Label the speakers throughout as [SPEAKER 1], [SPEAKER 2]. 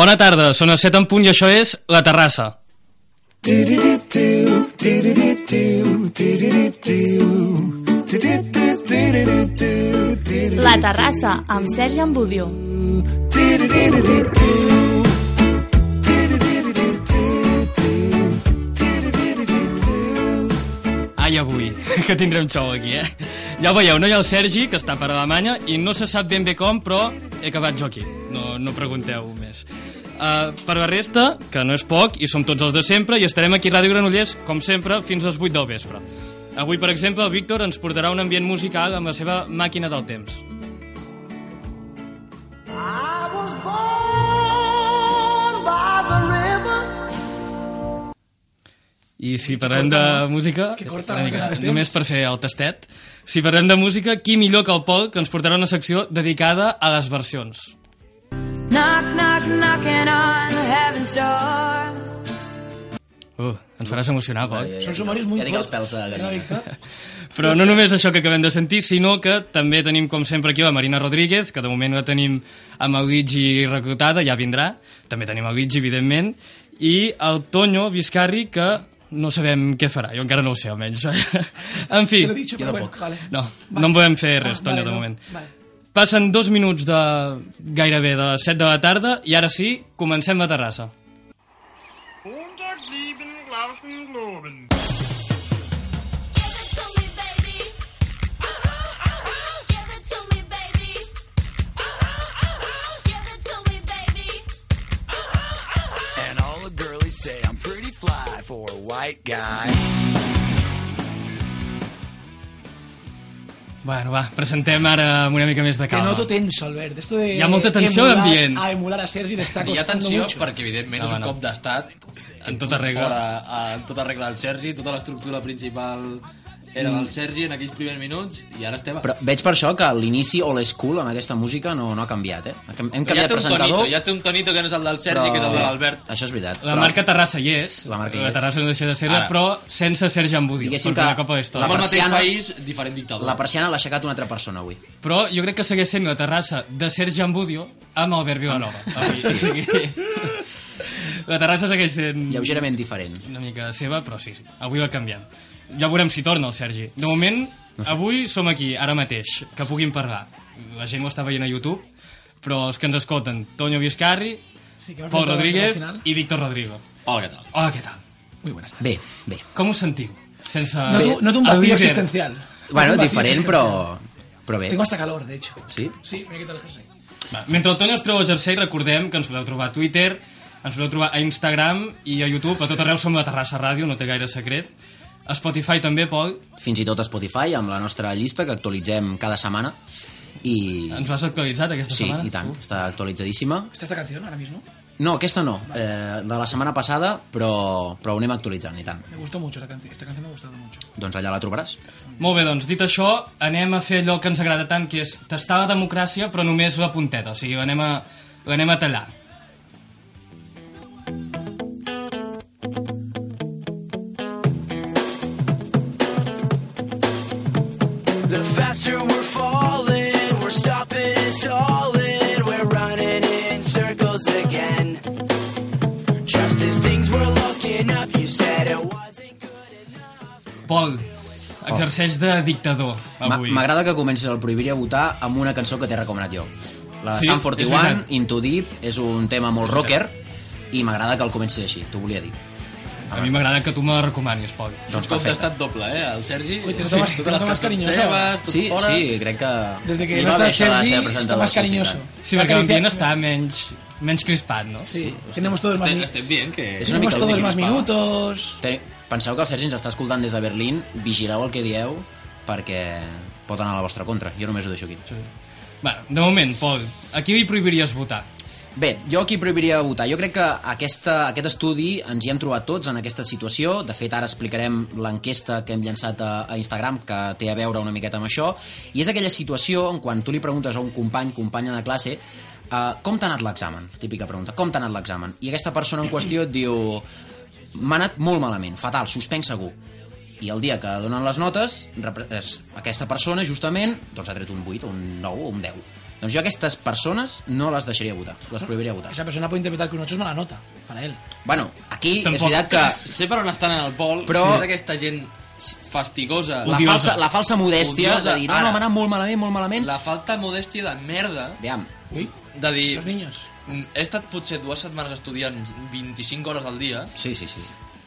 [SPEAKER 1] Bona tarda, són les 7 en punt i això és La Terrassa.
[SPEAKER 2] La Terrassa, amb Sergi Ambudio.
[SPEAKER 1] Ai, avui, que tindrem xou aquí, eh? Ja ho veieu, no hi ha el Sergi, que està per Alemanya, i no se sap ben bé com, però he acabat jo aquí. No, no pregunteu més. Uh, per la resta, que no és poc, i som tots els de sempre, i estarem aquí a Ràdio Granollers, com sempre, fins les 8 del vespre. Avui, per exemple, el Víctor ens portarà un ambient musical amb la seva màquina del temps.
[SPEAKER 3] I was born by the river.
[SPEAKER 1] I si parlem de música... Que corta, mica, només per fer el tastet. Si parlem de música, qui millor que el Pol que ens portarà una secció dedicada a les versions.
[SPEAKER 4] Knock, knock, knocking on heaven's door.
[SPEAKER 1] Uh, ens faràs emocionar, Pol.
[SPEAKER 5] Són sumaris molt
[SPEAKER 6] Ja tinc els
[SPEAKER 5] forts.
[SPEAKER 6] pèls de
[SPEAKER 5] Eh,
[SPEAKER 6] gallina.
[SPEAKER 5] Víctor?
[SPEAKER 1] Però no només això que acabem de sentir, sinó que també tenim, com sempre, aquí la Marina Rodríguez, que de moment la tenim amb el Luigi reclutada, ja vindrà. També tenim el Luigi, evidentment. I el Tonyo Vizcarri, que no sabem què farà. Jo encara no ho sé, almenys. en fi,
[SPEAKER 5] Te l'he dit, però bueno, vale.
[SPEAKER 1] no, no en podem fer res, Tonyo,
[SPEAKER 5] Ah,
[SPEAKER 1] de
[SPEAKER 5] vale, no,
[SPEAKER 1] moment.
[SPEAKER 5] vale.
[SPEAKER 1] Passen dos minuts de gairebé de les 7 de la tarda i ara sí, comencem la terrassa.
[SPEAKER 3] 107 Glauben Globen.
[SPEAKER 7] And all the girlies say I'm pretty fly for a white guy.
[SPEAKER 1] Bueno, va, presentem ara amb una mica més de
[SPEAKER 5] Que
[SPEAKER 1] calma.
[SPEAKER 5] no tot tenso, Albert. Esto de
[SPEAKER 1] Hi ha molta tensió
[SPEAKER 5] emular-
[SPEAKER 1] d'ambient.
[SPEAKER 5] A emular a Sergi destaca.
[SPEAKER 6] Hi ha tensió perquè, evidentment,
[SPEAKER 1] No,
[SPEAKER 6] és un
[SPEAKER 1] no.
[SPEAKER 6] cop d'estat.
[SPEAKER 1] En tota regla.
[SPEAKER 6] Fora, en tota regla del Sergi, tota l'estructura principal era del Sergi en aquells primers minuts i ara estem...
[SPEAKER 8] Però veig per això que l'inici old school amb aquesta música no, no ha canviat, eh? Hem hem canviat
[SPEAKER 6] ja té un tonito,
[SPEAKER 8] presentador,
[SPEAKER 6] ja té un tonito que no és el del Sergi, que és el de l'Albert.
[SPEAKER 8] Això és veritat.
[SPEAKER 1] La marca Terrassa hi és,
[SPEAKER 8] La marca hi és.
[SPEAKER 1] Terrassa no deixa de ser-la,
[SPEAKER 6] Ara.
[SPEAKER 1] però sense Sergi Ambudí, per
[SPEAKER 8] Diguéssim
[SPEAKER 1] primer
[SPEAKER 8] que
[SPEAKER 1] cop a la tota.
[SPEAKER 6] Som
[SPEAKER 1] història.
[SPEAKER 6] el mateix
[SPEAKER 8] persiana-
[SPEAKER 6] país, diferent dictador.
[SPEAKER 8] La persiana l'ha aixecat una altra persona avui.
[SPEAKER 1] Però jo crec que segueix sent la Terrassa de Sergi Ambudio amb Albert Vilanova. Avui, o sigui, la Terrassa segueix sent
[SPEAKER 8] Lleugerament diferent.
[SPEAKER 1] una mica seva, però sí, sí, avui la canviem. Ja veurem si torna el Sergi. De moment, avui som aquí, ara mateix, que puguin parlar. La gent ho està veient a YouTube, però els que ens escolten, Toño Vizcarri,
[SPEAKER 5] Sí, que vas
[SPEAKER 1] Pol
[SPEAKER 5] notar
[SPEAKER 1] Rodríguez
[SPEAKER 5] al final.
[SPEAKER 1] i Víctor Rodrigo.
[SPEAKER 6] Hola, què tal?
[SPEAKER 1] Hola, què tal?
[SPEAKER 8] Bé, bé.
[SPEAKER 1] Com us sentiu? Sense...
[SPEAKER 5] No, tu, no un
[SPEAKER 1] el
[SPEAKER 5] vacío
[SPEAKER 1] líder.
[SPEAKER 5] existencial.
[SPEAKER 8] Bueno,
[SPEAKER 5] Un vacío
[SPEAKER 8] diferent,
[SPEAKER 5] existencial.
[SPEAKER 8] però... Però bé.
[SPEAKER 5] Tengo hasta calor, de hecho.
[SPEAKER 8] Sí?
[SPEAKER 5] Sí, me he quitado el jersey.
[SPEAKER 1] Va. Mentre el Toni us treu el jersei, recordem que ens podeu trobar a Twitter, ens podeu trobar a Instagram i a YouTube. A tot arreu som la Terrassa Ràdio, no té gaire secret. A Spotify també, Pol.
[SPEAKER 8] Fins i tot a Spotify, amb la nostra llista, que actualitzem cada setmana. I...
[SPEAKER 1] Ens l'has actualitzat aquesta
[SPEAKER 8] Sí,
[SPEAKER 1] setmana?
[SPEAKER 8] i tant.
[SPEAKER 1] tu?
[SPEAKER 8] Està actualitzadíssima.
[SPEAKER 5] ¿Está esta canción ahora mismo?
[SPEAKER 8] No, aquesta no. Eh, de la setmana passada, però, però ho anem actualitzant, i tant.
[SPEAKER 5] Me gustó mucho esta canción. Esta canción me ha gustado mucho.
[SPEAKER 8] Doncs allà la trobaràs.
[SPEAKER 1] Molt bé, doncs, dit això, anem a fer allò que ens agrada tant, que és tastar la democràcia, però només la punteta. O sigui, l'anem a, l'anem a tallar.
[SPEAKER 7] The faster we're falling, we're stopping and stalling, we're running in circles again. Just as things were looking up, you said it wasn't good.
[SPEAKER 1] Pol, exerceix de dictador
[SPEAKER 8] Ma-
[SPEAKER 1] avui.
[SPEAKER 8] M'agrada que comencis el Prohibiria votar amb una cançó que t'he recomanat jo. La de
[SPEAKER 1] Sí,
[SPEAKER 8] sí, Sun
[SPEAKER 1] és
[SPEAKER 8] 41,
[SPEAKER 1] veritat.
[SPEAKER 8] Into Deep, és un tema molt rocker i m'agrada que el comencis així, t'ho volia dir.
[SPEAKER 1] Doncs A mi m'agrada que tu me la recomanis, Pol.
[SPEAKER 6] Doncs
[SPEAKER 8] Doncs
[SPEAKER 6] cop
[SPEAKER 8] perfecte.
[SPEAKER 6] d'estat doble, eh? El Sergi...
[SPEAKER 5] Ui, te lo tomas- te lo tomas cariñoso.
[SPEAKER 8] Sí,
[SPEAKER 6] fora.
[SPEAKER 8] sí, crec que...
[SPEAKER 5] Desde que
[SPEAKER 8] li va
[SPEAKER 5] no está
[SPEAKER 8] bé això de ser
[SPEAKER 5] Sergi, está
[SPEAKER 8] presentador,
[SPEAKER 5] más
[SPEAKER 8] sí, sí,
[SPEAKER 5] cariñoso.
[SPEAKER 8] tant.
[SPEAKER 1] Sí, perquè
[SPEAKER 5] Acaricia-
[SPEAKER 1] l'ambient està menys, menys crispat, no?
[SPEAKER 5] Sí, tenemos todos más,
[SPEAKER 6] Estem,
[SPEAKER 5] mi-
[SPEAKER 6] estem dient que...
[SPEAKER 8] És una mica
[SPEAKER 5] tenemos
[SPEAKER 8] el
[SPEAKER 5] todos
[SPEAKER 8] Vicky
[SPEAKER 5] más
[SPEAKER 6] Lisboa.
[SPEAKER 5] minutos.
[SPEAKER 8] Te- Penseu que el Sergi ens està escoltant des de Berlín, vigileu el que dieu perquè pot anar a la vostra contra. Jo només ho deixo aquí.
[SPEAKER 1] Bueno, de moment, Pol, a qui li prohibiries votar?
[SPEAKER 8] Bé, jo aquí prohibiria votar. Jo crec que aquesta, aquest estudi ens hi hem trobat tots en aquesta situació. De fet, ara explicarem l'enquesta que hem llançat a, a Instagram, que té a veure una miqueta amb això. I és aquella situació en quan tu li preguntes a un company, companya de classe, uh, com t'ha anat l'examen? Típica pregunta, com t'ha anat l'examen? I aquesta persona en qüestió et diu m'ha anat molt malament, fatal, suspenc segur. I el dia que donen les notes, repre- es- aquesta persona, justament, doncs ha tret un 8, un 9 o un 10. Doncs jo aquestes persones no les deixaria votar, les prohibiria votar.
[SPEAKER 5] Esa persona puede interpretar que un 8 es mala nota para él.
[SPEAKER 8] Bueno, aquí
[SPEAKER 1] Tampoc.
[SPEAKER 8] és veritat que
[SPEAKER 6] Sé per on estan en el vol, però...
[SPEAKER 8] Però-
[SPEAKER 6] és aquesta gent fastigosa.
[SPEAKER 8] la
[SPEAKER 1] Odiosa.
[SPEAKER 8] falsa, la falsa modèstia
[SPEAKER 6] Odiosa.
[SPEAKER 8] de dir no,
[SPEAKER 6] Ara.
[SPEAKER 8] no, m'ha anat molt malament, molt malament.
[SPEAKER 6] La falta de modèstia de merda
[SPEAKER 8] Aviam,
[SPEAKER 5] Uy,
[SPEAKER 6] de dir...
[SPEAKER 5] los niños.
[SPEAKER 6] "Mm, He estat potser dues setmanes estudiant 25 hores al dia
[SPEAKER 8] sí, sí, sí.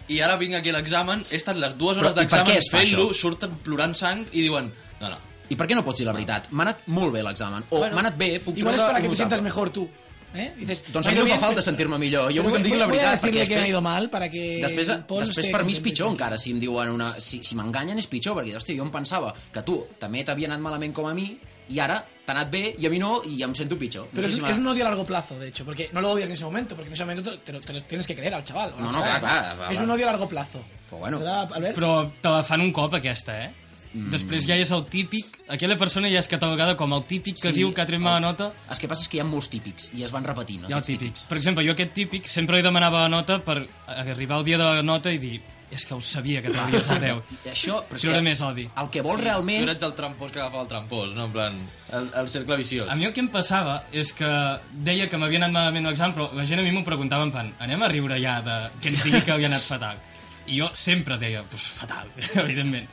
[SPEAKER 6] i ara vinc aquí a l'examen, he estat les dues
[SPEAKER 8] Però,
[SPEAKER 6] hores
[SPEAKER 8] i per què
[SPEAKER 6] d'examen
[SPEAKER 8] es fa
[SPEAKER 6] fent-lo,
[SPEAKER 8] això?
[SPEAKER 6] surten plorant sang i diuen... No, no,
[SPEAKER 8] I per què no pots dir la veritat? M'ha anat molt bé l'examen. O
[SPEAKER 6] Bueno,
[SPEAKER 8] m'ha anat bé, puc
[SPEAKER 5] Igual es
[SPEAKER 8] treure
[SPEAKER 5] para
[SPEAKER 8] un notable.
[SPEAKER 5] que te sientas mejor tú. ¿eh? Dices,
[SPEAKER 8] Doncs a
[SPEAKER 5] "Me ha
[SPEAKER 8] mi no fa
[SPEAKER 5] ido bien,
[SPEAKER 8] falta
[SPEAKER 5] pero-
[SPEAKER 8] sentir-me millor. Jo
[SPEAKER 5] Pero
[SPEAKER 8] vull que em
[SPEAKER 5] voy-
[SPEAKER 8] diguin la
[SPEAKER 5] voy a
[SPEAKER 8] veritat,
[SPEAKER 5] decirle
[SPEAKER 8] perquè
[SPEAKER 5] que me ha ido
[SPEAKER 8] després...
[SPEAKER 5] mal para que
[SPEAKER 8] Després,
[SPEAKER 5] Paul
[SPEAKER 8] després
[SPEAKER 5] esté
[SPEAKER 8] per mi és
[SPEAKER 5] contento.
[SPEAKER 8] pitjor encara, si em diuen una... Si, si m'enganyen és pitjor, perquè, hòstia, jo em pensava que tu també t'havia anat malament com a mi, i ara t'ha anat bé i a mi no, i em sento pitjor.
[SPEAKER 5] Pero
[SPEAKER 8] no sé
[SPEAKER 5] es,
[SPEAKER 8] si m'ha-
[SPEAKER 5] es un odio a largo plazo, de hecho, porque no lo odias en ese momento, porque en ese momento te, te lo, te lo tienes que creer al chaval. o a la
[SPEAKER 8] No, no,
[SPEAKER 5] chavala.
[SPEAKER 8] claro, claro, claro.
[SPEAKER 5] Es un odio a largo plazo.
[SPEAKER 8] Pues bueno.
[SPEAKER 5] ¿Verdad, Albert?
[SPEAKER 1] Però te la fan un cop, aquesta, eh? Mm. Després ja és el típic... Aquella persona ja és catalogada com el típic que
[SPEAKER 8] Sí,
[SPEAKER 1] sí, diu que ha tret mala nota.
[SPEAKER 8] El que passa és que hi ha molts típics, i es van
[SPEAKER 1] Hi
[SPEAKER 8] repetint.
[SPEAKER 1] ha el
[SPEAKER 8] aquests
[SPEAKER 1] típic. Per exemple, jo aquest típic sempre li demanava la nota per arribar al dia de la nota i dir és que ho sabia que t'hauries de 10.
[SPEAKER 8] típics. I Això, però és
[SPEAKER 1] Treure
[SPEAKER 8] que
[SPEAKER 1] més odi.
[SPEAKER 8] El que vol realment...
[SPEAKER 6] Tu eres el trampós que agafava el trampós, no? En plan, el, el cercle viciós.
[SPEAKER 1] A mi el que em passava és que deia que m'havia anat malament l'examen, però la gent a mi m'ho preguntava en plan, anem a riure ja de que em digui que havia anat fatal. I jo sempre deia, pues fatal, evidentment.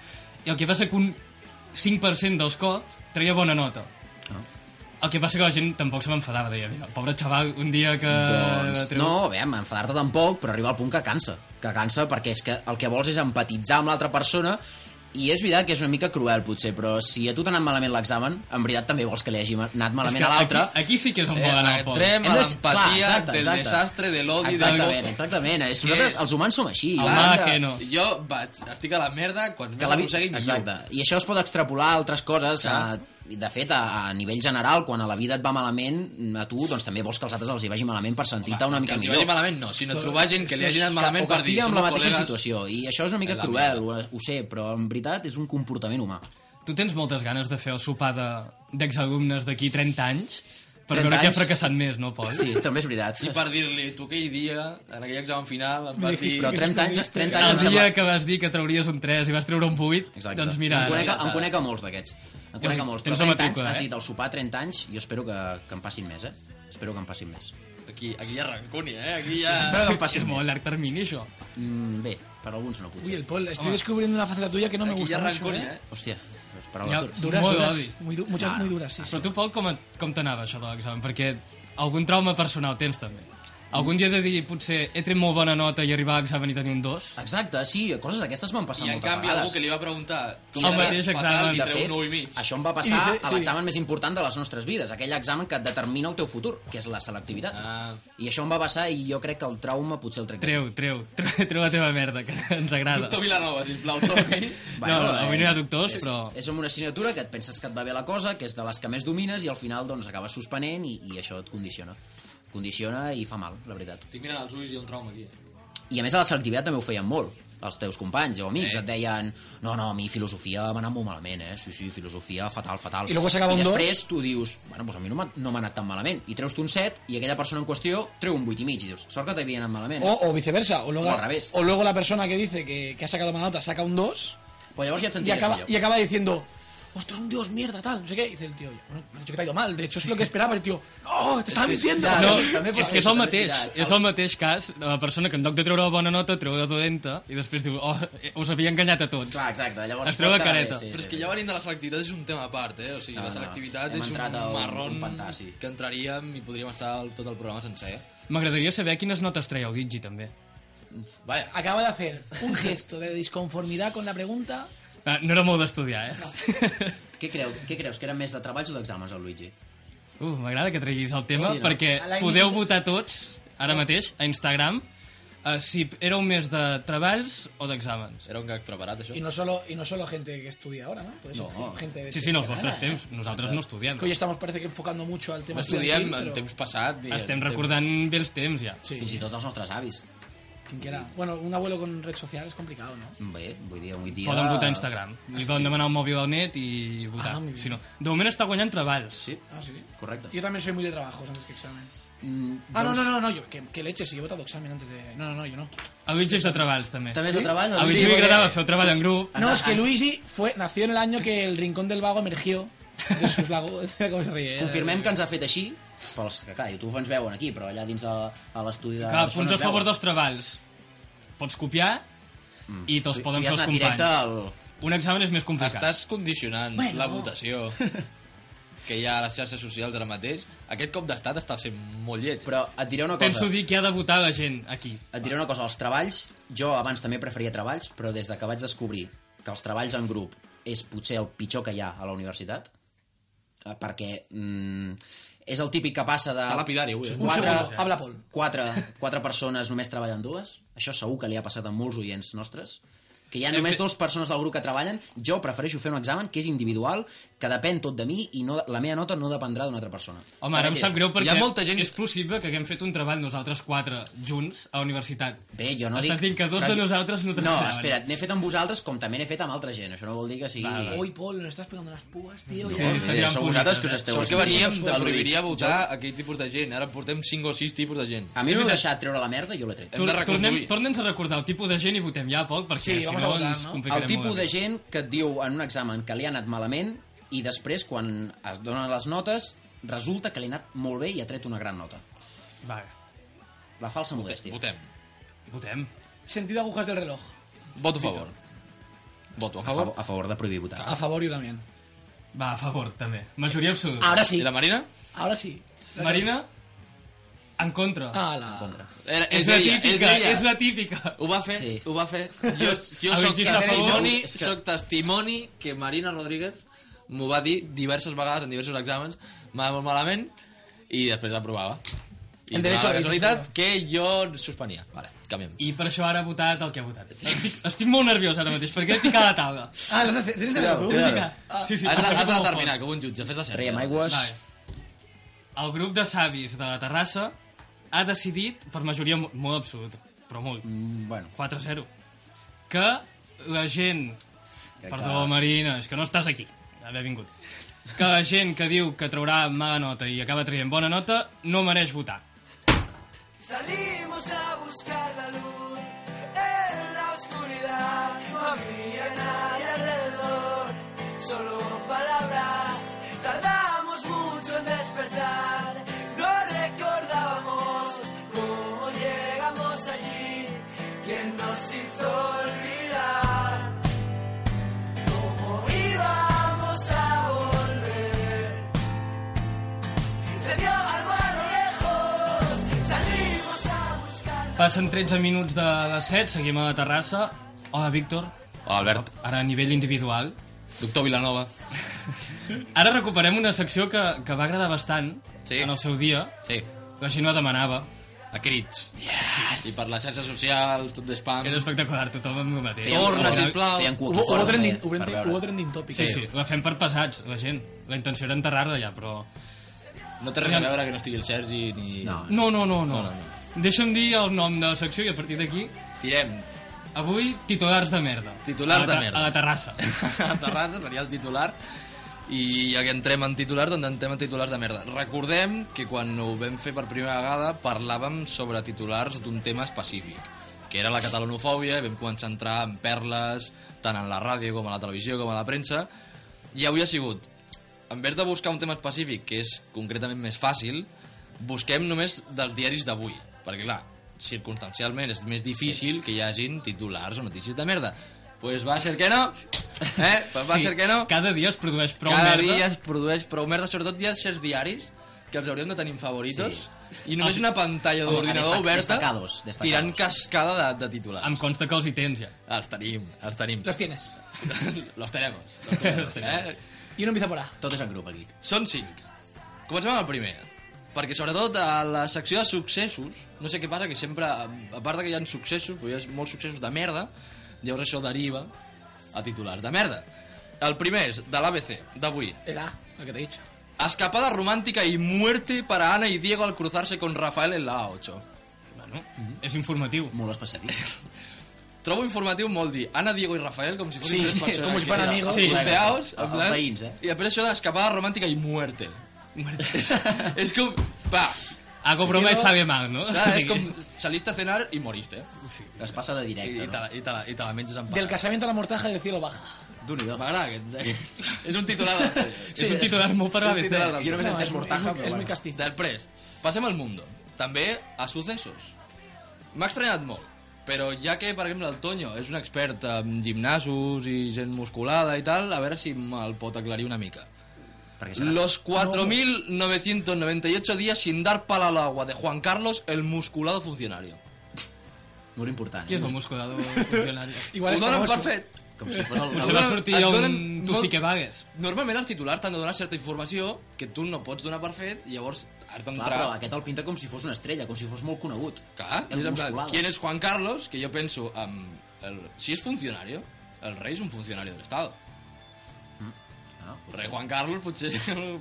[SPEAKER 1] I el que passa que un 5% dels cops treia bona nota.
[SPEAKER 8] Ah.
[SPEAKER 1] El que passa que la gent tampoc se m'enfadava, deia, mira, pobre xaval, un dia que...
[SPEAKER 8] Doncs
[SPEAKER 1] treu-
[SPEAKER 8] no, bé, enfadar-te tampoc, però arriba al punt que cansa. Que cansa perquè és que el que vols és empatitzar amb l'altra persona i és veritat que és una mica cruel, potser, però si a tu t'ha anat malament l'examen, en veritat també vols que li hagi anat
[SPEAKER 1] És
[SPEAKER 8] malament
[SPEAKER 1] que
[SPEAKER 8] a l'altre.
[SPEAKER 1] aquí, aquí sí que és on
[SPEAKER 6] Eh,
[SPEAKER 1] volen anar el poble.
[SPEAKER 6] entrem a
[SPEAKER 8] Hem de ser- clar,
[SPEAKER 6] l'empatia
[SPEAKER 8] exacte,
[SPEAKER 6] del
[SPEAKER 8] exacte.
[SPEAKER 6] desastre, de l'odi, de la
[SPEAKER 8] Exactament, exactament. És,
[SPEAKER 6] Que
[SPEAKER 8] nosaltres,
[SPEAKER 6] és-
[SPEAKER 8] els humans som així.
[SPEAKER 1] El
[SPEAKER 8] Hem
[SPEAKER 1] mal
[SPEAKER 8] de-
[SPEAKER 1] ajeno.
[SPEAKER 6] Jo vaig, estic a la merda,
[SPEAKER 8] que
[SPEAKER 6] quan més
[SPEAKER 8] la vida,
[SPEAKER 6] aconseguim,
[SPEAKER 8] exacte. I això es pot extrapolar a altres coses. A, de fet, a, a nivell general, quan a la vida et va malament, a tu doncs, també vols que els altres els hi vagi malament per sentir-te una mica
[SPEAKER 6] Que els hi
[SPEAKER 8] millor.
[SPEAKER 6] vagi malament, no, sinó trobar gent que li hagi anat
[SPEAKER 8] que,
[SPEAKER 6] malament
[SPEAKER 8] o que
[SPEAKER 6] per dir...
[SPEAKER 8] estigui en
[SPEAKER 6] "Som
[SPEAKER 8] la mateixa
[SPEAKER 6] col·legues".
[SPEAKER 8] situació i això és una mica
[SPEAKER 6] En la
[SPEAKER 8] cruel, ho, ho sé però en veritat és un comportament humà
[SPEAKER 1] Tu tens moltes ganes de fer el sopar de- d'exalumnes d'aquí 30 anys per
[SPEAKER 8] 30
[SPEAKER 1] veure qui ha
[SPEAKER 8] anys?
[SPEAKER 1] fracassat més, no, Pol?
[SPEAKER 8] sí, també és veritat
[SPEAKER 6] I per dir-li, tu aquell dia, en aquell examen final, em vas dir...
[SPEAKER 8] però 30 anys, 30
[SPEAKER 1] El
[SPEAKER 8] anys em
[SPEAKER 1] dia
[SPEAKER 8] sembla
[SPEAKER 1] que vas dir que trauries un 3 i vas treure un 8,
[SPEAKER 8] Exacte.
[SPEAKER 1] doncs mira,
[SPEAKER 8] en conec,
[SPEAKER 1] ara,
[SPEAKER 8] em conec a molts d'aquests en conec a molts, però
[SPEAKER 1] Tens la
[SPEAKER 8] 30 anys,
[SPEAKER 1] matrícula,
[SPEAKER 8] has
[SPEAKER 1] eh?
[SPEAKER 8] dit el sopar 30 anys, jo espero que, que en passin més, eh? Espero que en passin més.
[SPEAKER 6] Aquí, aquí hi ha rancúnia, eh? Aquí hi ha...
[SPEAKER 8] Espero que en
[SPEAKER 1] és
[SPEAKER 8] passin
[SPEAKER 1] molt a
[SPEAKER 8] més.
[SPEAKER 1] llarg termini, això.
[SPEAKER 8] Mm, bé, per alguns no,
[SPEAKER 5] Uy,
[SPEAKER 8] potser.
[SPEAKER 5] el Paul, estoy descubriendo una faceta tuya que no me
[SPEAKER 6] Aquí hi
[SPEAKER 5] gusta
[SPEAKER 6] ha
[SPEAKER 5] mucho. ¿eh?
[SPEAKER 6] rancúnia, eh?
[SPEAKER 8] Hòstia, les paraules
[SPEAKER 1] Ja,
[SPEAKER 8] dures.
[SPEAKER 5] Duras,
[SPEAKER 1] molt
[SPEAKER 5] duras.
[SPEAKER 1] odi.
[SPEAKER 5] Muy du- muchas muy duras, sí. sí.
[SPEAKER 1] Però tu, Pol, com, et- com t'anava això de l'examen? Perquè algun trauma personal tens, també. Algun dia de dir, potser he tret molt bona nota i arribar a l'examen i tenir un 2?
[SPEAKER 8] Exacte, sí, coses d'aquestes m'han passat
[SPEAKER 6] I en
[SPEAKER 8] moltes
[SPEAKER 6] canvi
[SPEAKER 8] vegades.
[SPEAKER 6] algú que li va preguntar...
[SPEAKER 1] El mateix examen.
[SPEAKER 6] I
[SPEAKER 8] De
[SPEAKER 6] treu un 9
[SPEAKER 8] fet,
[SPEAKER 6] i mig.
[SPEAKER 8] això em va passar
[SPEAKER 5] I de fet,
[SPEAKER 8] a
[SPEAKER 5] sí.
[SPEAKER 8] l'examen més important de les nostres vides, aquell examen que et determina el teu futur, que és la selectivitat.
[SPEAKER 6] Ah.
[SPEAKER 8] I això em va passar i jo crec que el trauma potser el trec.
[SPEAKER 1] Treu, treu, treu, treu la teva merda, que ens agrada.
[SPEAKER 6] Doctor Vilanova, sisplau, torni.
[SPEAKER 1] No, avui no hi ha doctors,
[SPEAKER 8] eh, és,
[SPEAKER 1] però-
[SPEAKER 8] És amb una assignatura que et penses que et va bé la cosa, que és de les que més domines i al final doncs acabes suspenent i, i això et condiciona. Et condiciona i fa mal, la veritat.
[SPEAKER 6] Estic mirant els ulls i hi ha un trauma aquí. eh?
[SPEAKER 8] I a més a la selectivitat també ho feien molt els teus companys o amics et deien no, no, a mi filosofia m'ha anat molt malament eh? sí, sí, filosofia, fatal, fatal
[SPEAKER 5] I luego s'acaba
[SPEAKER 8] I
[SPEAKER 5] un
[SPEAKER 8] després tu dius, bueno, doncs a mi no m'ha no m'ha anat tan malament i treus tu un 7 i aquella persona en qüestió treu un 8 i mig i dius, sort que t'havia anat malament eh?"
[SPEAKER 5] O, o viceversa. O luego,
[SPEAKER 8] O al revés.
[SPEAKER 5] o luego la persona que dice que, que ha sacado mala nota saca un 2
[SPEAKER 8] però llavors ja et
[SPEAKER 5] y
[SPEAKER 8] senties
[SPEAKER 5] acaba,
[SPEAKER 8] millor
[SPEAKER 5] y acaba diciendo. Ostras, un dios, mierda, tal, no sé qué. Y dice el tío, bueno, me has dicho que te ha ido mal. De hecho, es lo que esperaba. El tío, ¡oh, te estaba mintiendo!
[SPEAKER 8] ya,
[SPEAKER 1] No,
[SPEAKER 8] També- també pot
[SPEAKER 1] és
[SPEAKER 8] ser,
[SPEAKER 1] que és el
[SPEAKER 8] també
[SPEAKER 1] mateix,
[SPEAKER 8] és veritat.
[SPEAKER 1] és el mateix cas de la persona que en lloc de treure la bona nota treu la dolenta i després diu, oh, eh, us havia enganyat a tots.
[SPEAKER 8] Clar, exacte, llavors
[SPEAKER 1] Es treu la
[SPEAKER 8] pot anar bé,
[SPEAKER 1] careta.
[SPEAKER 6] Però és que ja venint de la selectivitat és un tema a part, eh? O sigui,
[SPEAKER 8] No,
[SPEAKER 6] la
[SPEAKER 8] no,
[SPEAKER 6] selectivitat
[SPEAKER 8] hem
[SPEAKER 6] és
[SPEAKER 8] entrat
[SPEAKER 6] un
[SPEAKER 8] a un-
[SPEAKER 6] marrón
[SPEAKER 8] un pantà, sí.
[SPEAKER 6] que entraríem i podríem estar el, tot el programa sencer.
[SPEAKER 1] M'agradaria saber quines notes treia el Gigi, també.
[SPEAKER 8] Vaja.
[SPEAKER 5] Acaba de hacer un gesto de disconformidad con la pregunta.
[SPEAKER 1] Ah, No era molt d'estudiar, eh?
[SPEAKER 8] Què, creu, què creus, que era més de treballs o d'exàmens el Luigi?
[SPEAKER 1] Uh, M'agrada que treguis el tema, sí,
[SPEAKER 8] Sí, no?
[SPEAKER 1] no? perquè
[SPEAKER 5] A la
[SPEAKER 1] podeu
[SPEAKER 5] nit-
[SPEAKER 1] votar tots, ara mateix, a Instagram, uh, si éreu més de treballs o d'exàmens.
[SPEAKER 6] Era un gag preparat, això?
[SPEAKER 5] Y no solo, y no solo gente que estudia ahora, ¿no? Puede ser
[SPEAKER 8] No.
[SPEAKER 5] gente
[SPEAKER 1] Sí, sí, en els vostres
[SPEAKER 5] veterana, ¿eh?
[SPEAKER 1] temps. Nosaltres no estudiem.
[SPEAKER 5] Que hoy estamos, parece que enfocando mucho al tema
[SPEAKER 6] Estudiem
[SPEAKER 5] estudiantil,
[SPEAKER 6] en
[SPEAKER 5] pero-
[SPEAKER 6] temps passat. i en
[SPEAKER 1] Estem
[SPEAKER 6] temps-
[SPEAKER 1] recordant vells temps, ja.
[SPEAKER 8] Sí. Fins i tot els nostres avis.
[SPEAKER 5] Quien quiera. Bueno, un abuelo con red social es complicado, ¿no?
[SPEAKER 8] Bé, vull dir, avui dia...
[SPEAKER 1] Poden votar a Instagram. Li poden demanar un mòbil al net i votar.
[SPEAKER 5] Ah, molt bé.
[SPEAKER 1] si no. De moment està guanyant treballs. Sí.
[SPEAKER 5] Ah, sí.
[SPEAKER 8] Correcte.
[SPEAKER 5] Yo también soy muy de trabajos antes que examen.
[SPEAKER 8] Mm,
[SPEAKER 5] Ah, no, no, no, no, yo, que, que leche, si yo he votado examen antes de. No, no, no, yo no.
[SPEAKER 1] A Luigi és de treballs, també.
[SPEAKER 8] També és de treballs?
[SPEAKER 5] Ah,
[SPEAKER 1] A Luigi li agradava fer el treball en grup.
[SPEAKER 5] No, es que Luigi fue, nació en el año que el Rincón del Vago emergió Jesús Lago, mira com es rie. eh?
[SPEAKER 8] Confirmem que ens ha fet així, pels que, clar, YouTube ens veuen aquí, però allà dins de, a l'estudi de...
[SPEAKER 1] Clar,
[SPEAKER 8] això
[SPEAKER 1] punts
[SPEAKER 8] no
[SPEAKER 1] a
[SPEAKER 8] ens
[SPEAKER 1] favor
[SPEAKER 8] veuen.
[SPEAKER 1] dels treballs. Pots copiar i te'ls
[SPEAKER 8] Tu
[SPEAKER 1] poden
[SPEAKER 8] ja
[SPEAKER 1] fer
[SPEAKER 8] has
[SPEAKER 1] els
[SPEAKER 8] anat
[SPEAKER 1] companys.
[SPEAKER 8] directe al...
[SPEAKER 1] Un examen és més complicat.
[SPEAKER 6] Estàs condicionant la votació que hi ha a les xarxes socials ara mateix. Aquest cop d'estat està sent molt lleig.
[SPEAKER 8] Però et diré una cosa.
[SPEAKER 1] Penso dir que ha de votar la gent aquí.
[SPEAKER 8] Et diré una cosa, els treballs, jo abans també preferia treballs, però des de que vaig descobrir que els treballs en grup és potser el pitjor que hi ha a la universitat, eh, perquè mm, és el típic que passa de...
[SPEAKER 6] Està lapidari, avui. eh?
[SPEAKER 5] Un segon, habla Pol.
[SPEAKER 8] Quatre, quatre persones només treballen dues, això segur que li ha passat a molts oients nostres, que hi ha només dues persones del grup que treballen, jo prefereixo fer un examen que és individual, que depèn tot de mi i no, la meva nota no dependrà d'una altra persona.
[SPEAKER 1] Home, ara em sap greu perquè
[SPEAKER 6] Hi ha molta gent-
[SPEAKER 1] és possible que haguem fet un treball nosaltres quatre junts a la universitat.
[SPEAKER 8] Bé, jo no
[SPEAKER 1] Estàs
[SPEAKER 8] dic...
[SPEAKER 1] dient que dos
[SPEAKER 8] però
[SPEAKER 1] de
[SPEAKER 8] jo-
[SPEAKER 1] nosaltres no
[SPEAKER 8] No,
[SPEAKER 1] treballaven.
[SPEAKER 8] espera, n'he fet amb vosaltres com també n'he fet amb altra gent. Això no vol dir que sigui...
[SPEAKER 5] Ui, Pol, le estàs pegando las púas, tío.
[SPEAKER 1] Sí, està
[SPEAKER 8] Eh,
[SPEAKER 1] tirant
[SPEAKER 8] sou
[SPEAKER 1] punyetes,
[SPEAKER 8] vosaltres que us
[SPEAKER 1] eh?
[SPEAKER 8] esteu...
[SPEAKER 6] Sort que veníem
[SPEAKER 8] esteu-
[SPEAKER 6] de prohibiria
[SPEAKER 8] al·ludits.
[SPEAKER 6] votar aquell tipus de gent. Ara portem 5 o 6 tipus de gent.
[SPEAKER 8] A mi us heu deixat treure la merda i jo l'he tret.
[SPEAKER 6] Hem de
[SPEAKER 1] Tor- Tornem,
[SPEAKER 6] reconstruir.
[SPEAKER 1] torna'ns a recordar el tipus de gent i votem ja poc, perquè
[SPEAKER 5] Sí,
[SPEAKER 1] si
[SPEAKER 5] vamos
[SPEAKER 1] no
[SPEAKER 5] a votar,
[SPEAKER 1] ens
[SPEAKER 5] no?
[SPEAKER 1] complicarem
[SPEAKER 8] El tipus
[SPEAKER 1] molt.
[SPEAKER 8] de gent que et diu en un examen que li ha anat malament i després, quan es donen les notes, resulta que li ha anat molt bé i ha tret una gran nota.
[SPEAKER 1] Va,
[SPEAKER 8] La falsa modèstia.
[SPEAKER 6] Votem.
[SPEAKER 1] votem.
[SPEAKER 5] Sentido agujas del reloj.
[SPEAKER 6] Voto a favor. Voto a
[SPEAKER 8] A
[SPEAKER 6] favor.
[SPEAKER 8] favor, a favor de prohibir votar.
[SPEAKER 5] A favor yo también.
[SPEAKER 1] Va, a favor, també. Majoria absoluta.
[SPEAKER 5] Ahora
[SPEAKER 6] I
[SPEAKER 5] sí,
[SPEAKER 6] la Marina?
[SPEAKER 5] ahora sí.
[SPEAKER 1] Marina, en contra.
[SPEAKER 5] Ah, la...
[SPEAKER 6] Era,
[SPEAKER 1] és,
[SPEAKER 6] és,
[SPEAKER 1] la
[SPEAKER 6] ella, és
[SPEAKER 1] típica, és,
[SPEAKER 6] ella.
[SPEAKER 1] la típica.
[SPEAKER 6] Ho va fer,
[SPEAKER 8] Sí.
[SPEAKER 6] sí. ho va fer. Jo, jo
[SPEAKER 1] A
[SPEAKER 6] soc,
[SPEAKER 1] Virgili Ferrer,
[SPEAKER 6] testimoni,
[SPEAKER 8] és que-
[SPEAKER 6] soc testimoni que Marina Rodríguez m'ho va dir diverses vegades en diversos exàmens, m'ha anat molt malament, i després l'aprovava. I donava
[SPEAKER 5] El derecho a
[SPEAKER 6] la
[SPEAKER 5] la
[SPEAKER 6] casualitat que jo suspenia. Vale, canviem.
[SPEAKER 1] I per això ara ha votat el que ha votat. Estic, estic molt nerviós ara mateix, perquè he picat la taula.
[SPEAKER 5] Ah, l'has de fer, tens de fer tu?
[SPEAKER 1] Vinga. Sí, sí,
[SPEAKER 6] has,
[SPEAKER 1] em
[SPEAKER 6] de,
[SPEAKER 1] sembla
[SPEAKER 6] has de
[SPEAKER 1] molt
[SPEAKER 6] determinar
[SPEAKER 1] fort.
[SPEAKER 6] que un jutge fes la cerca.
[SPEAKER 8] Traiem aigües.
[SPEAKER 1] Vale. El grup de savis de la Terrassa ha decidit, per majoria mo- molt absoluta, però molt,
[SPEAKER 8] Mm, Bueno,
[SPEAKER 1] 4-0, que la gent...
[SPEAKER 8] Crec
[SPEAKER 1] Perdó,
[SPEAKER 8] que-
[SPEAKER 1] Marina, és que no estàs aquí. Haver vingut. Que la gent que diu que traurà mala nota i acaba traient bona nota no mereix votar.
[SPEAKER 7] Salimos a buscar la luz en la oscuridad. No había nadie alrededor, solo palabras. Tardamos mucho en despertar. No recordábamos cómo llegamos allí. ¿Quién nos hizo olvidar? ¿Cómo íbamos a volver? Se vio algo a lo lejos. Salimos a buscar.
[SPEAKER 1] Passen 13 minuts de les 7, seguim a la Terrassa. Hola, Víctor.
[SPEAKER 6] Hola, Albert.
[SPEAKER 1] Ara a nivell individual.
[SPEAKER 6] Doctor Vilanova.
[SPEAKER 1] Ara recuperem una secció que, que va agradar bastant
[SPEAKER 6] Sí.
[SPEAKER 1] en el seu dia.
[SPEAKER 6] Sí.
[SPEAKER 1] La gent ho demanava.
[SPEAKER 6] A crits. Yes. I per les xarxes socials, tot de spam.
[SPEAKER 1] Era espectacular, tothom amb el mateix.
[SPEAKER 6] Torna,
[SPEAKER 1] Era-
[SPEAKER 6] sisplau.
[SPEAKER 8] feien cua
[SPEAKER 5] Hubo,
[SPEAKER 8] aquí
[SPEAKER 5] hubo,
[SPEAKER 8] fora,
[SPEAKER 5] trending,
[SPEAKER 8] eh,
[SPEAKER 5] hubo,
[SPEAKER 8] per
[SPEAKER 5] trending,
[SPEAKER 8] veure.
[SPEAKER 5] hubo trending topic.
[SPEAKER 1] Sí, sí, la fem per pesats, la gent. La intenció era enterrar-la ja, però...
[SPEAKER 6] No té res a veure que no estigui el Sergi ni...
[SPEAKER 8] No.
[SPEAKER 1] No, no, no, no.
[SPEAKER 6] No, no,
[SPEAKER 1] Deixa'm dir el nom de la secció i a partir d'aquí...
[SPEAKER 6] Tirem.
[SPEAKER 1] Avui, titulars de merda.
[SPEAKER 6] Titulars
[SPEAKER 1] A la ta-
[SPEAKER 6] de merda.
[SPEAKER 1] A la terrassa.
[SPEAKER 6] a Terrassa seria el titular i ja que entrem en titulars, doncs entrem en titulars de merda. Recordem que quan ho vam fer per primera vegada parlàvem sobre titulars d'un tema específic, que era la catalanofòbia, i vam començar a entrar en perles, tant en la ràdio com a la televisió com a la premsa, i avui ha sigut, en vez de buscar un tema específic, que és concretament més fàcil, busquem només dels diaris d'avui, perquè clar, circumstancialment és més difícil que hi hagin titulars o notícies de merda. Pues va ser que no, eh? Pues va ser que no.
[SPEAKER 1] Cada dia es produeix prou
[SPEAKER 6] Cada
[SPEAKER 1] merda.
[SPEAKER 6] dia es produeix prou merda, sobretot hi ha certs diaris que els hauríem de tenir en favoritos i només una pantalla
[SPEAKER 8] Home,
[SPEAKER 6] d'ordinador
[SPEAKER 8] destac-
[SPEAKER 6] oberta
[SPEAKER 8] destacados, destacados.
[SPEAKER 6] tirant cascada de, de titular.
[SPEAKER 1] Em consta que els hi tens ja.
[SPEAKER 6] Els tenim, els tenim.
[SPEAKER 5] Los tienes.
[SPEAKER 6] Los tenemos. Los tenemos eh?
[SPEAKER 5] Y uno empieza por A.
[SPEAKER 8] tot és en grup aquí.
[SPEAKER 6] Són cinc. Comencem amb el primer. Perquè sobretot a la secció de successos, no sé què passa, que sempre, a part de que hi ha successos, però hi ha molts successos de merda, llavors això deriva a titulars de merda. El primer és de l'ABC, d'avui.
[SPEAKER 5] El A, lo que te he dicho.
[SPEAKER 6] Escapada romántica y muerte para Ana y Diego al cruzarse con Rafael en la A8.
[SPEAKER 1] Bueno,
[SPEAKER 6] Mhm.
[SPEAKER 1] és informatiu.
[SPEAKER 8] Molt específic.
[SPEAKER 6] Trobo informatiu molt dir Ana, Diego i Rafael com si fossin
[SPEAKER 5] Sí,
[SPEAKER 6] tres
[SPEAKER 5] sí,
[SPEAKER 6] persones.
[SPEAKER 5] com si
[SPEAKER 6] que
[SPEAKER 5] fueran
[SPEAKER 6] siguin
[SPEAKER 5] amigos.
[SPEAKER 1] Sí.
[SPEAKER 6] Puteaos, en
[SPEAKER 8] Els
[SPEAKER 6] plan,
[SPEAKER 8] veïns, eh?
[SPEAKER 6] I després això d'escapada romàntica i muerte.
[SPEAKER 1] Merda.
[SPEAKER 6] és com... Va,
[SPEAKER 1] Hago broma y sabe mal, no?
[SPEAKER 6] Clar,
[SPEAKER 1] O
[SPEAKER 6] és
[SPEAKER 1] sigui,
[SPEAKER 6] com saliste a cenar i moriste. Sí.
[SPEAKER 8] Es passa de
[SPEAKER 6] I,
[SPEAKER 8] directe,
[SPEAKER 6] i, te la, i, te la, I te la menges en
[SPEAKER 5] Del
[SPEAKER 6] part.
[SPEAKER 5] casamiento a la mortaja del cielo baja.
[SPEAKER 8] Déu-n'hi-do.
[SPEAKER 6] M'agrada aquest. eh? és un titular de...
[SPEAKER 1] és un titular molt per
[SPEAKER 6] és un
[SPEAKER 1] l'ABC.
[SPEAKER 6] titular del-
[SPEAKER 8] Jo només he
[SPEAKER 5] No,
[SPEAKER 8] entès
[SPEAKER 5] és muy-
[SPEAKER 8] mortaja,
[SPEAKER 5] és muy-
[SPEAKER 8] però
[SPEAKER 5] és muy
[SPEAKER 8] bueno.
[SPEAKER 5] castizo.
[SPEAKER 6] Després, passem al mundo. També a successos. M'ha estranyat molt, però ja que, per exemple, el Toño és un expert en gimnasos i gent musculada i tal, a veure si me'l pot aclarir una mica.
[SPEAKER 8] Perquè serà...
[SPEAKER 5] Ah,
[SPEAKER 6] Los 4.998 días sin dar pala al agua de Juan Carlos, el musculado funcionario.
[SPEAKER 8] Molt important. eh?
[SPEAKER 1] Qui és el musculado funcionari?
[SPEAKER 6] Ho
[SPEAKER 5] Igual es
[SPEAKER 6] donen
[SPEAKER 5] famoso.
[SPEAKER 6] per fet.
[SPEAKER 8] Com si fos el...
[SPEAKER 1] Potser
[SPEAKER 6] Alguna-
[SPEAKER 1] va sortir
[SPEAKER 6] et
[SPEAKER 1] un...
[SPEAKER 6] donen
[SPEAKER 1] Tu
[SPEAKER 6] molt-
[SPEAKER 1] sí que vagues.
[SPEAKER 6] Normalment els titulars t'han de donar certa informació que tu no pots donar per fet i llavors has
[SPEAKER 8] Clar,
[SPEAKER 6] d'entrar...
[SPEAKER 8] però aquest el pinta com si fos una estrella, com si fos molt conegut.
[SPEAKER 6] Clar,
[SPEAKER 8] el
[SPEAKER 6] és en plan,
[SPEAKER 8] musculado.
[SPEAKER 6] ¿quién es Juan Carlos? Que yo pienso, am, el- si es funcionario, el rey es un funcionario del Estado.
[SPEAKER 8] Ah,
[SPEAKER 6] El rey Juan Carlos, pues es un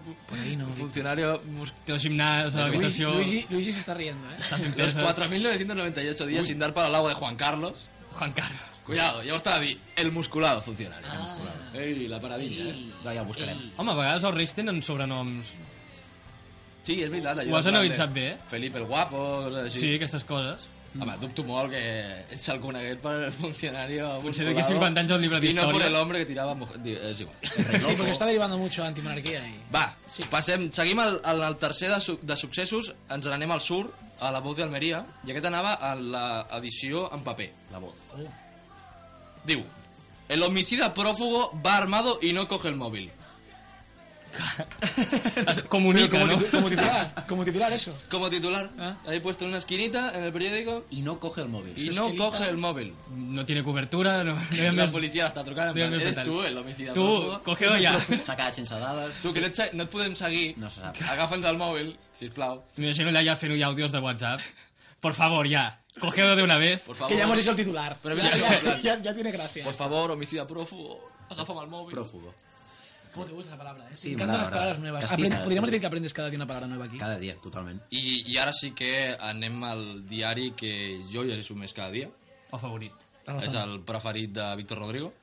[SPEAKER 6] funcionario... mus-
[SPEAKER 1] Té el gimnàs a
[SPEAKER 5] Luigi,
[SPEAKER 1] l'habitació...
[SPEAKER 5] Luigi, Luigi se está riendo, ¿eh?
[SPEAKER 1] està fent
[SPEAKER 6] Los
[SPEAKER 1] peses.
[SPEAKER 6] 4.998 días sin dar para el agua de Juan Carlos.
[SPEAKER 1] Juan Carlos.
[SPEAKER 6] Cuidado, ya os estaba di- el musculado funcionario.
[SPEAKER 8] Ah.
[SPEAKER 6] El musculado. Ey, la maravilla. eh.
[SPEAKER 8] doncs Ja, ja el buscarem.
[SPEAKER 1] Home, a vegades els reis tenen sobrenoms.
[SPEAKER 6] Sí, es verdad.
[SPEAKER 1] Ho has analitzat bé, eh?
[SPEAKER 6] Felipe el Guapo, cosas así.
[SPEAKER 1] Sí, aquestes coses.
[SPEAKER 6] Home, dubto molt que eh, ets el coneguet per el funcionari
[SPEAKER 1] Potser d'aquí 50 anys al llibre
[SPEAKER 6] I no
[SPEAKER 1] d'història.
[SPEAKER 6] per l'home que tirava... mujer- di- eh, És igual.
[SPEAKER 5] Sí, porque está derivando mucho a antimonarquía y...
[SPEAKER 6] Va,
[SPEAKER 5] Sí.
[SPEAKER 6] sí. passem, seguim al, al, al tercer de, su, de successos, ens n'anem al sur, a la Voz d'Almeria, i aquest anava a l'edició en paper. Oh.
[SPEAKER 8] La voz.
[SPEAKER 6] Diu, el homicida prófugo va armado y no coge el móvil.
[SPEAKER 1] Es comunica,
[SPEAKER 5] Pero
[SPEAKER 1] no?
[SPEAKER 5] como, titu- como titular, como titular eso.
[SPEAKER 6] Como titular,
[SPEAKER 5] Ah.
[SPEAKER 6] he puesto en una esquinita en el periódico
[SPEAKER 8] I no coge el mòbil.
[SPEAKER 6] y
[SPEAKER 8] I...
[SPEAKER 6] no
[SPEAKER 5] esquinita.
[SPEAKER 6] coge el móvil.
[SPEAKER 1] No tiene cobertura, no, no hi ha
[SPEAKER 6] La
[SPEAKER 1] més...
[SPEAKER 6] policia l'està trucant, en
[SPEAKER 1] no hi ha
[SPEAKER 6] plan,
[SPEAKER 1] més
[SPEAKER 6] eres
[SPEAKER 1] detalls.
[SPEAKER 6] tu el homicida
[SPEAKER 1] Tu,
[SPEAKER 6] prófugo.
[SPEAKER 1] cógelo ya.
[SPEAKER 8] S'ha quedat sense dades.
[SPEAKER 6] Tu, que no et, se- no et podem seguir,
[SPEAKER 8] No se sap.
[SPEAKER 6] agafa'ns el mòbil, sisplau.
[SPEAKER 1] M'imagino allà ja fent-ho ja àudios de WhatsApp. Por favor, ya. Cógelo de una vez.
[SPEAKER 6] Por favor.
[SPEAKER 5] Que ya hemos hecho el titular.
[SPEAKER 6] Pero
[SPEAKER 5] ya,
[SPEAKER 6] mira,
[SPEAKER 5] ya-
[SPEAKER 6] en plan-
[SPEAKER 5] ya- ya tiene gracia.
[SPEAKER 6] Por favor, homicida prófugo, agafa'm el móvil.
[SPEAKER 8] Pròfugo.
[SPEAKER 5] ¿Cómo te gusta esa palabra, eh?
[SPEAKER 8] Sí,
[SPEAKER 5] Me encantan
[SPEAKER 8] una
[SPEAKER 5] las
[SPEAKER 8] palabra.
[SPEAKER 5] palabras nuevas.
[SPEAKER 8] Castiza,
[SPEAKER 5] Aprend- Podríamos
[SPEAKER 8] sí.
[SPEAKER 5] decir que aprendes cada día una palabra nueva aquí.
[SPEAKER 8] Cada dia, totalment.
[SPEAKER 6] I, I ara sí que anem al diari que jo llegeixo més cada dia.
[SPEAKER 1] O favorit.
[SPEAKER 5] La razón.
[SPEAKER 6] És el preferit de Víctor Rodrigo.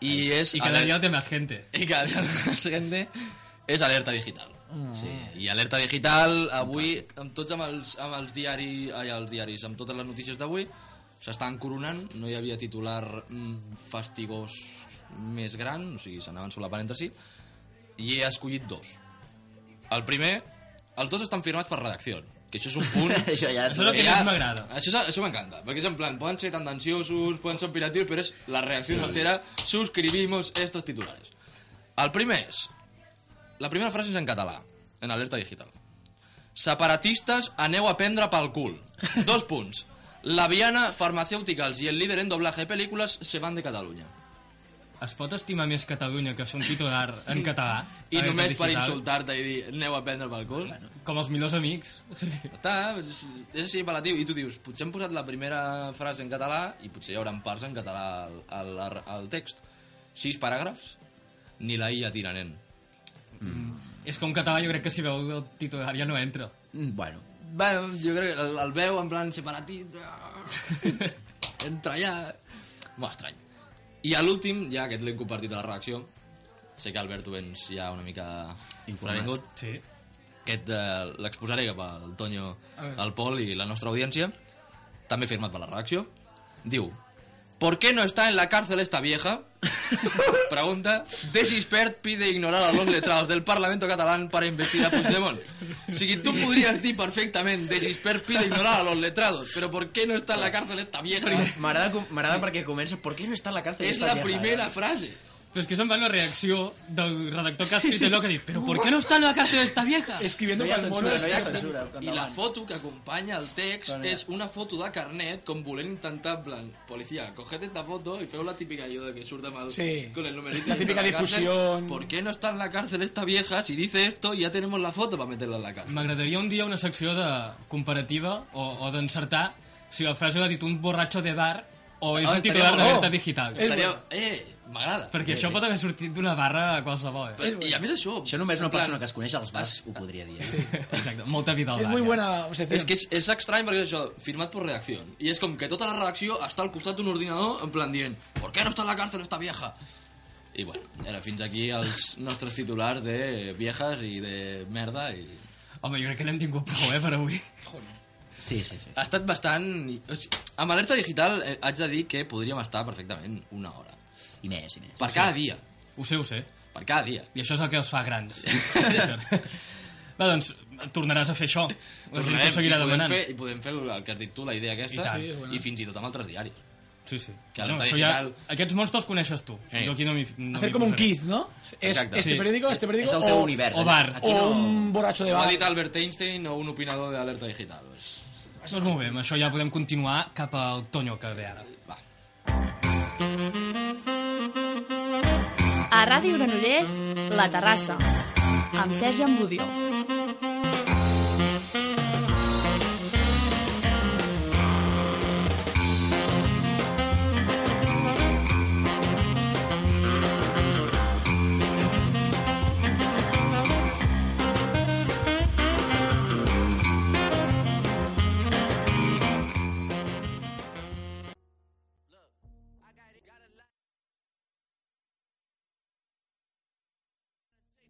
[SPEAKER 6] I és...
[SPEAKER 1] Y cada
[SPEAKER 6] aler-
[SPEAKER 1] día té más gente.
[SPEAKER 6] I cada dia més gent és alerta digital. Sí, i alerta digital avui, amb tots amb els, amb els, diari, ai, els diaris, amb totes les notícies d'avui, s'estan coronant, no hi havia titular mm, fastigós més gran, o sigui, s'anaven solapant entre si, i he escollit dos. El primer, els dos estan firmats per redacció, que això és un punt
[SPEAKER 8] Això ja...
[SPEAKER 1] Això és el que
[SPEAKER 6] Ja,
[SPEAKER 1] més m'agrada.
[SPEAKER 6] Això, és- això m'encanta, perquè és en plan, poden ser tendenciosos, poden ser operatius, però és la reacció sí. entera, suscribimos estos titulares. El primer és, la primera frase és en català, en alerta digital. Separatistes, aneu a prendre pel cul. Dos punts. La Viana, farmacèuticals i el líder en doblaje de pel·lícules se van de Catalunya.
[SPEAKER 1] Es pot estimar més Catalunya que fer un titular en català?
[SPEAKER 6] I
[SPEAKER 1] a la
[SPEAKER 6] només per
[SPEAKER 1] digital?
[SPEAKER 6] insultar-te i dir aneu a prendre pel cul.
[SPEAKER 1] Com els millors amics. Sí.
[SPEAKER 6] Està, és, és així apel·latiu. I tu dius, potser hem posat la primera frase en català i potser hi haurà parts en català al, al, al- al text. Sis paràgrafs, ni la I ja tira, nen.
[SPEAKER 1] És que un català jo crec que si veu el titular ja no entra.
[SPEAKER 8] Mm, Bueno,
[SPEAKER 6] Bueno, jo crec que el, el veu en plan separatit. ah, Entra allà. Molt estrany. I a l'últim, ja aquest l'hem compartit a la redacció, sé que Albert tu vens ja una mica informat.
[SPEAKER 1] Sí.
[SPEAKER 6] Aquest eh, l'exposaré cap al Tonyo, al Pol i la nostra audiència. També firmat per la redacció. Diu... ¿Por qué no está en la cárcel esta vieja? Pregunta. Desispert pide ignorar a los letrados del Parlamento catalán para investir a Puigdemont. O sigui, tu podries dir perfectament Desispert pide ignorar a los letrados, però ¿por qué no està en la cárcel esta vieja?
[SPEAKER 8] Ah, M'agrada com- m'agrada perquè comença ¿Por qué no està en la cárcel?
[SPEAKER 6] És
[SPEAKER 8] esta
[SPEAKER 6] la
[SPEAKER 8] vieja?" eh.
[SPEAKER 6] primera frase.
[SPEAKER 1] Però és que és en plan la reacció del redactor que ha escrit allò que diu «Però por qué no està en la cárcel esta vieja?»
[SPEAKER 5] Escribiendo
[SPEAKER 8] No hi ha
[SPEAKER 5] para el mono
[SPEAKER 8] censura, no hi ha
[SPEAKER 5] exacto.
[SPEAKER 8] censura.
[SPEAKER 6] I la foto que acompanya el text és una foto de carnet com volent intentar, en plan, policia, coged esta foto i feu la típica allò de que surt amb el,
[SPEAKER 5] Sí.
[SPEAKER 6] con el numerito.
[SPEAKER 5] La
[SPEAKER 6] i entra
[SPEAKER 5] típica
[SPEAKER 6] a cárcel.
[SPEAKER 5] difusión.
[SPEAKER 6] ¿Por qué no está en la cárcel esta vieja? Si dice esto, ya tenemos la foto para meterla en la cárcel.
[SPEAKER 1] M'agradaria un dia una secció de comparativa o, o d'encertar si la frase l'ha dit un borratxo de bar o és
[SPEAKER 6] Ah,
[SPEAKER 1] un titular
[SPEAKER 6] estaria
[SPEAKER 1] d'alerta
[SPEAKER 5] bo.
[SPEAKER 1] digital.
[SPEAKER 6] Estaria... Eh, m'agrada.
[SPEAKER 1] Perquè això pot haver sortit d'una barra a qualsevol. Eh?
[SPEAKER 6] Però- I a més això...
[SPEAKER 8] Això només una
[SPEAKER 6] en plan,
[SPEAKER 8] persona que es coneix als bars ho podria dir. eh? Sí.
[SPEAKER 1] Exacte, molta vida al
[SPEAKER 5] Es
[SPEAKER 1] bar.
[SPEAKER 5] muy
[SPEAKER 1] eh?
[SPEAKER 5] buena sección.
[SPEAKER 6] És que és, és estrany perquè és això, firmat per redacció. I és com que tota la redacció està al costat d'un ordinador en plan dient ¿Por qué no está en la cárcel esta vieja? I bueno, era fins aquí els nostres titulars de viejas i de merda i...
[SPEAKER 1] Home, jo crec que n'hem tingut prou, eh, per avui.
[SPEAKER 8] Sí, sí, sí.
[SPEAKER 6] Ha estat bastant... O sigui, amb alerta digital eh, haig de dir que podríem estar perfectament una hora.
[SPEAKER 8] I més, i més.
[SPEAKER 6] Per cada dia.
[SPEAKER 1] Ho sé, ho sé.
[SPEAKER 6] Per cada dia.
[SPEAKER 1] I això és el que els fa grans. Va, doncs, tornaràs a fer això. La gent t'ho seguirà
[SPEAKER 6] i, podem
[SPEAKER 1] demanant.
[SPEAKER 6] fer, I podem fer el que has dit tu, la idea aquesta,
[SPEAKER 1] I tant.
[SPEAKER 6] i, i fins i tot amb altres diaris.
[SPEAKER 1] Sí, sí.
[SPEAKER 6] Que alerta
[SPEAKER 1] això
[SPEAKER 6] digital-
[SPEAKER 1] Aquests monstres els coneixes tu.
[SPEAKER 6] Eh.
[SPEAKER 1] Jo aquí no m'hi... No
[SPEAKER 5] Hacer
[SPEAKER 1] m'hi
[SPEAKER 5] como un
[SPEAKER 1] posaré.
[SPEAKER 5] kid, ¿no? Es
[SPEAKER 6] Exacto.
[SPEAKER 5] este
[SPEAKER 1] Sí.
[SPEAKER 5] periódico, este periódico.
[SPEAKER 8] És el
[SPEAKER 5] o,
[SPEAKER 8] teu univers.
[SPEAKER 1] o
[SPEAKER 6] eh?
[SPEAKER 8] allà.
[SPEAKER 1] bar.
[SPEAKER 8] Aquí
[SPEAKER 5] O
[SPEAKER 8] no...
[SPEAKER 5] un borracho de
[SPEAKER 6] Ho ha
[SPEAKER 5] bar.
[SPEAKER 6] dit Albert Einstein o un opinador d'alerta digital. Pues,
[SPEAKER 1] Doncs molt bé, amb això ja podem continuar cap al Tonyo que ve ara.
[SPEAKER 6] va.
[SPEAKER 2] A Ràdio Granollers, La Terrassa, amb Sergi Ambudio.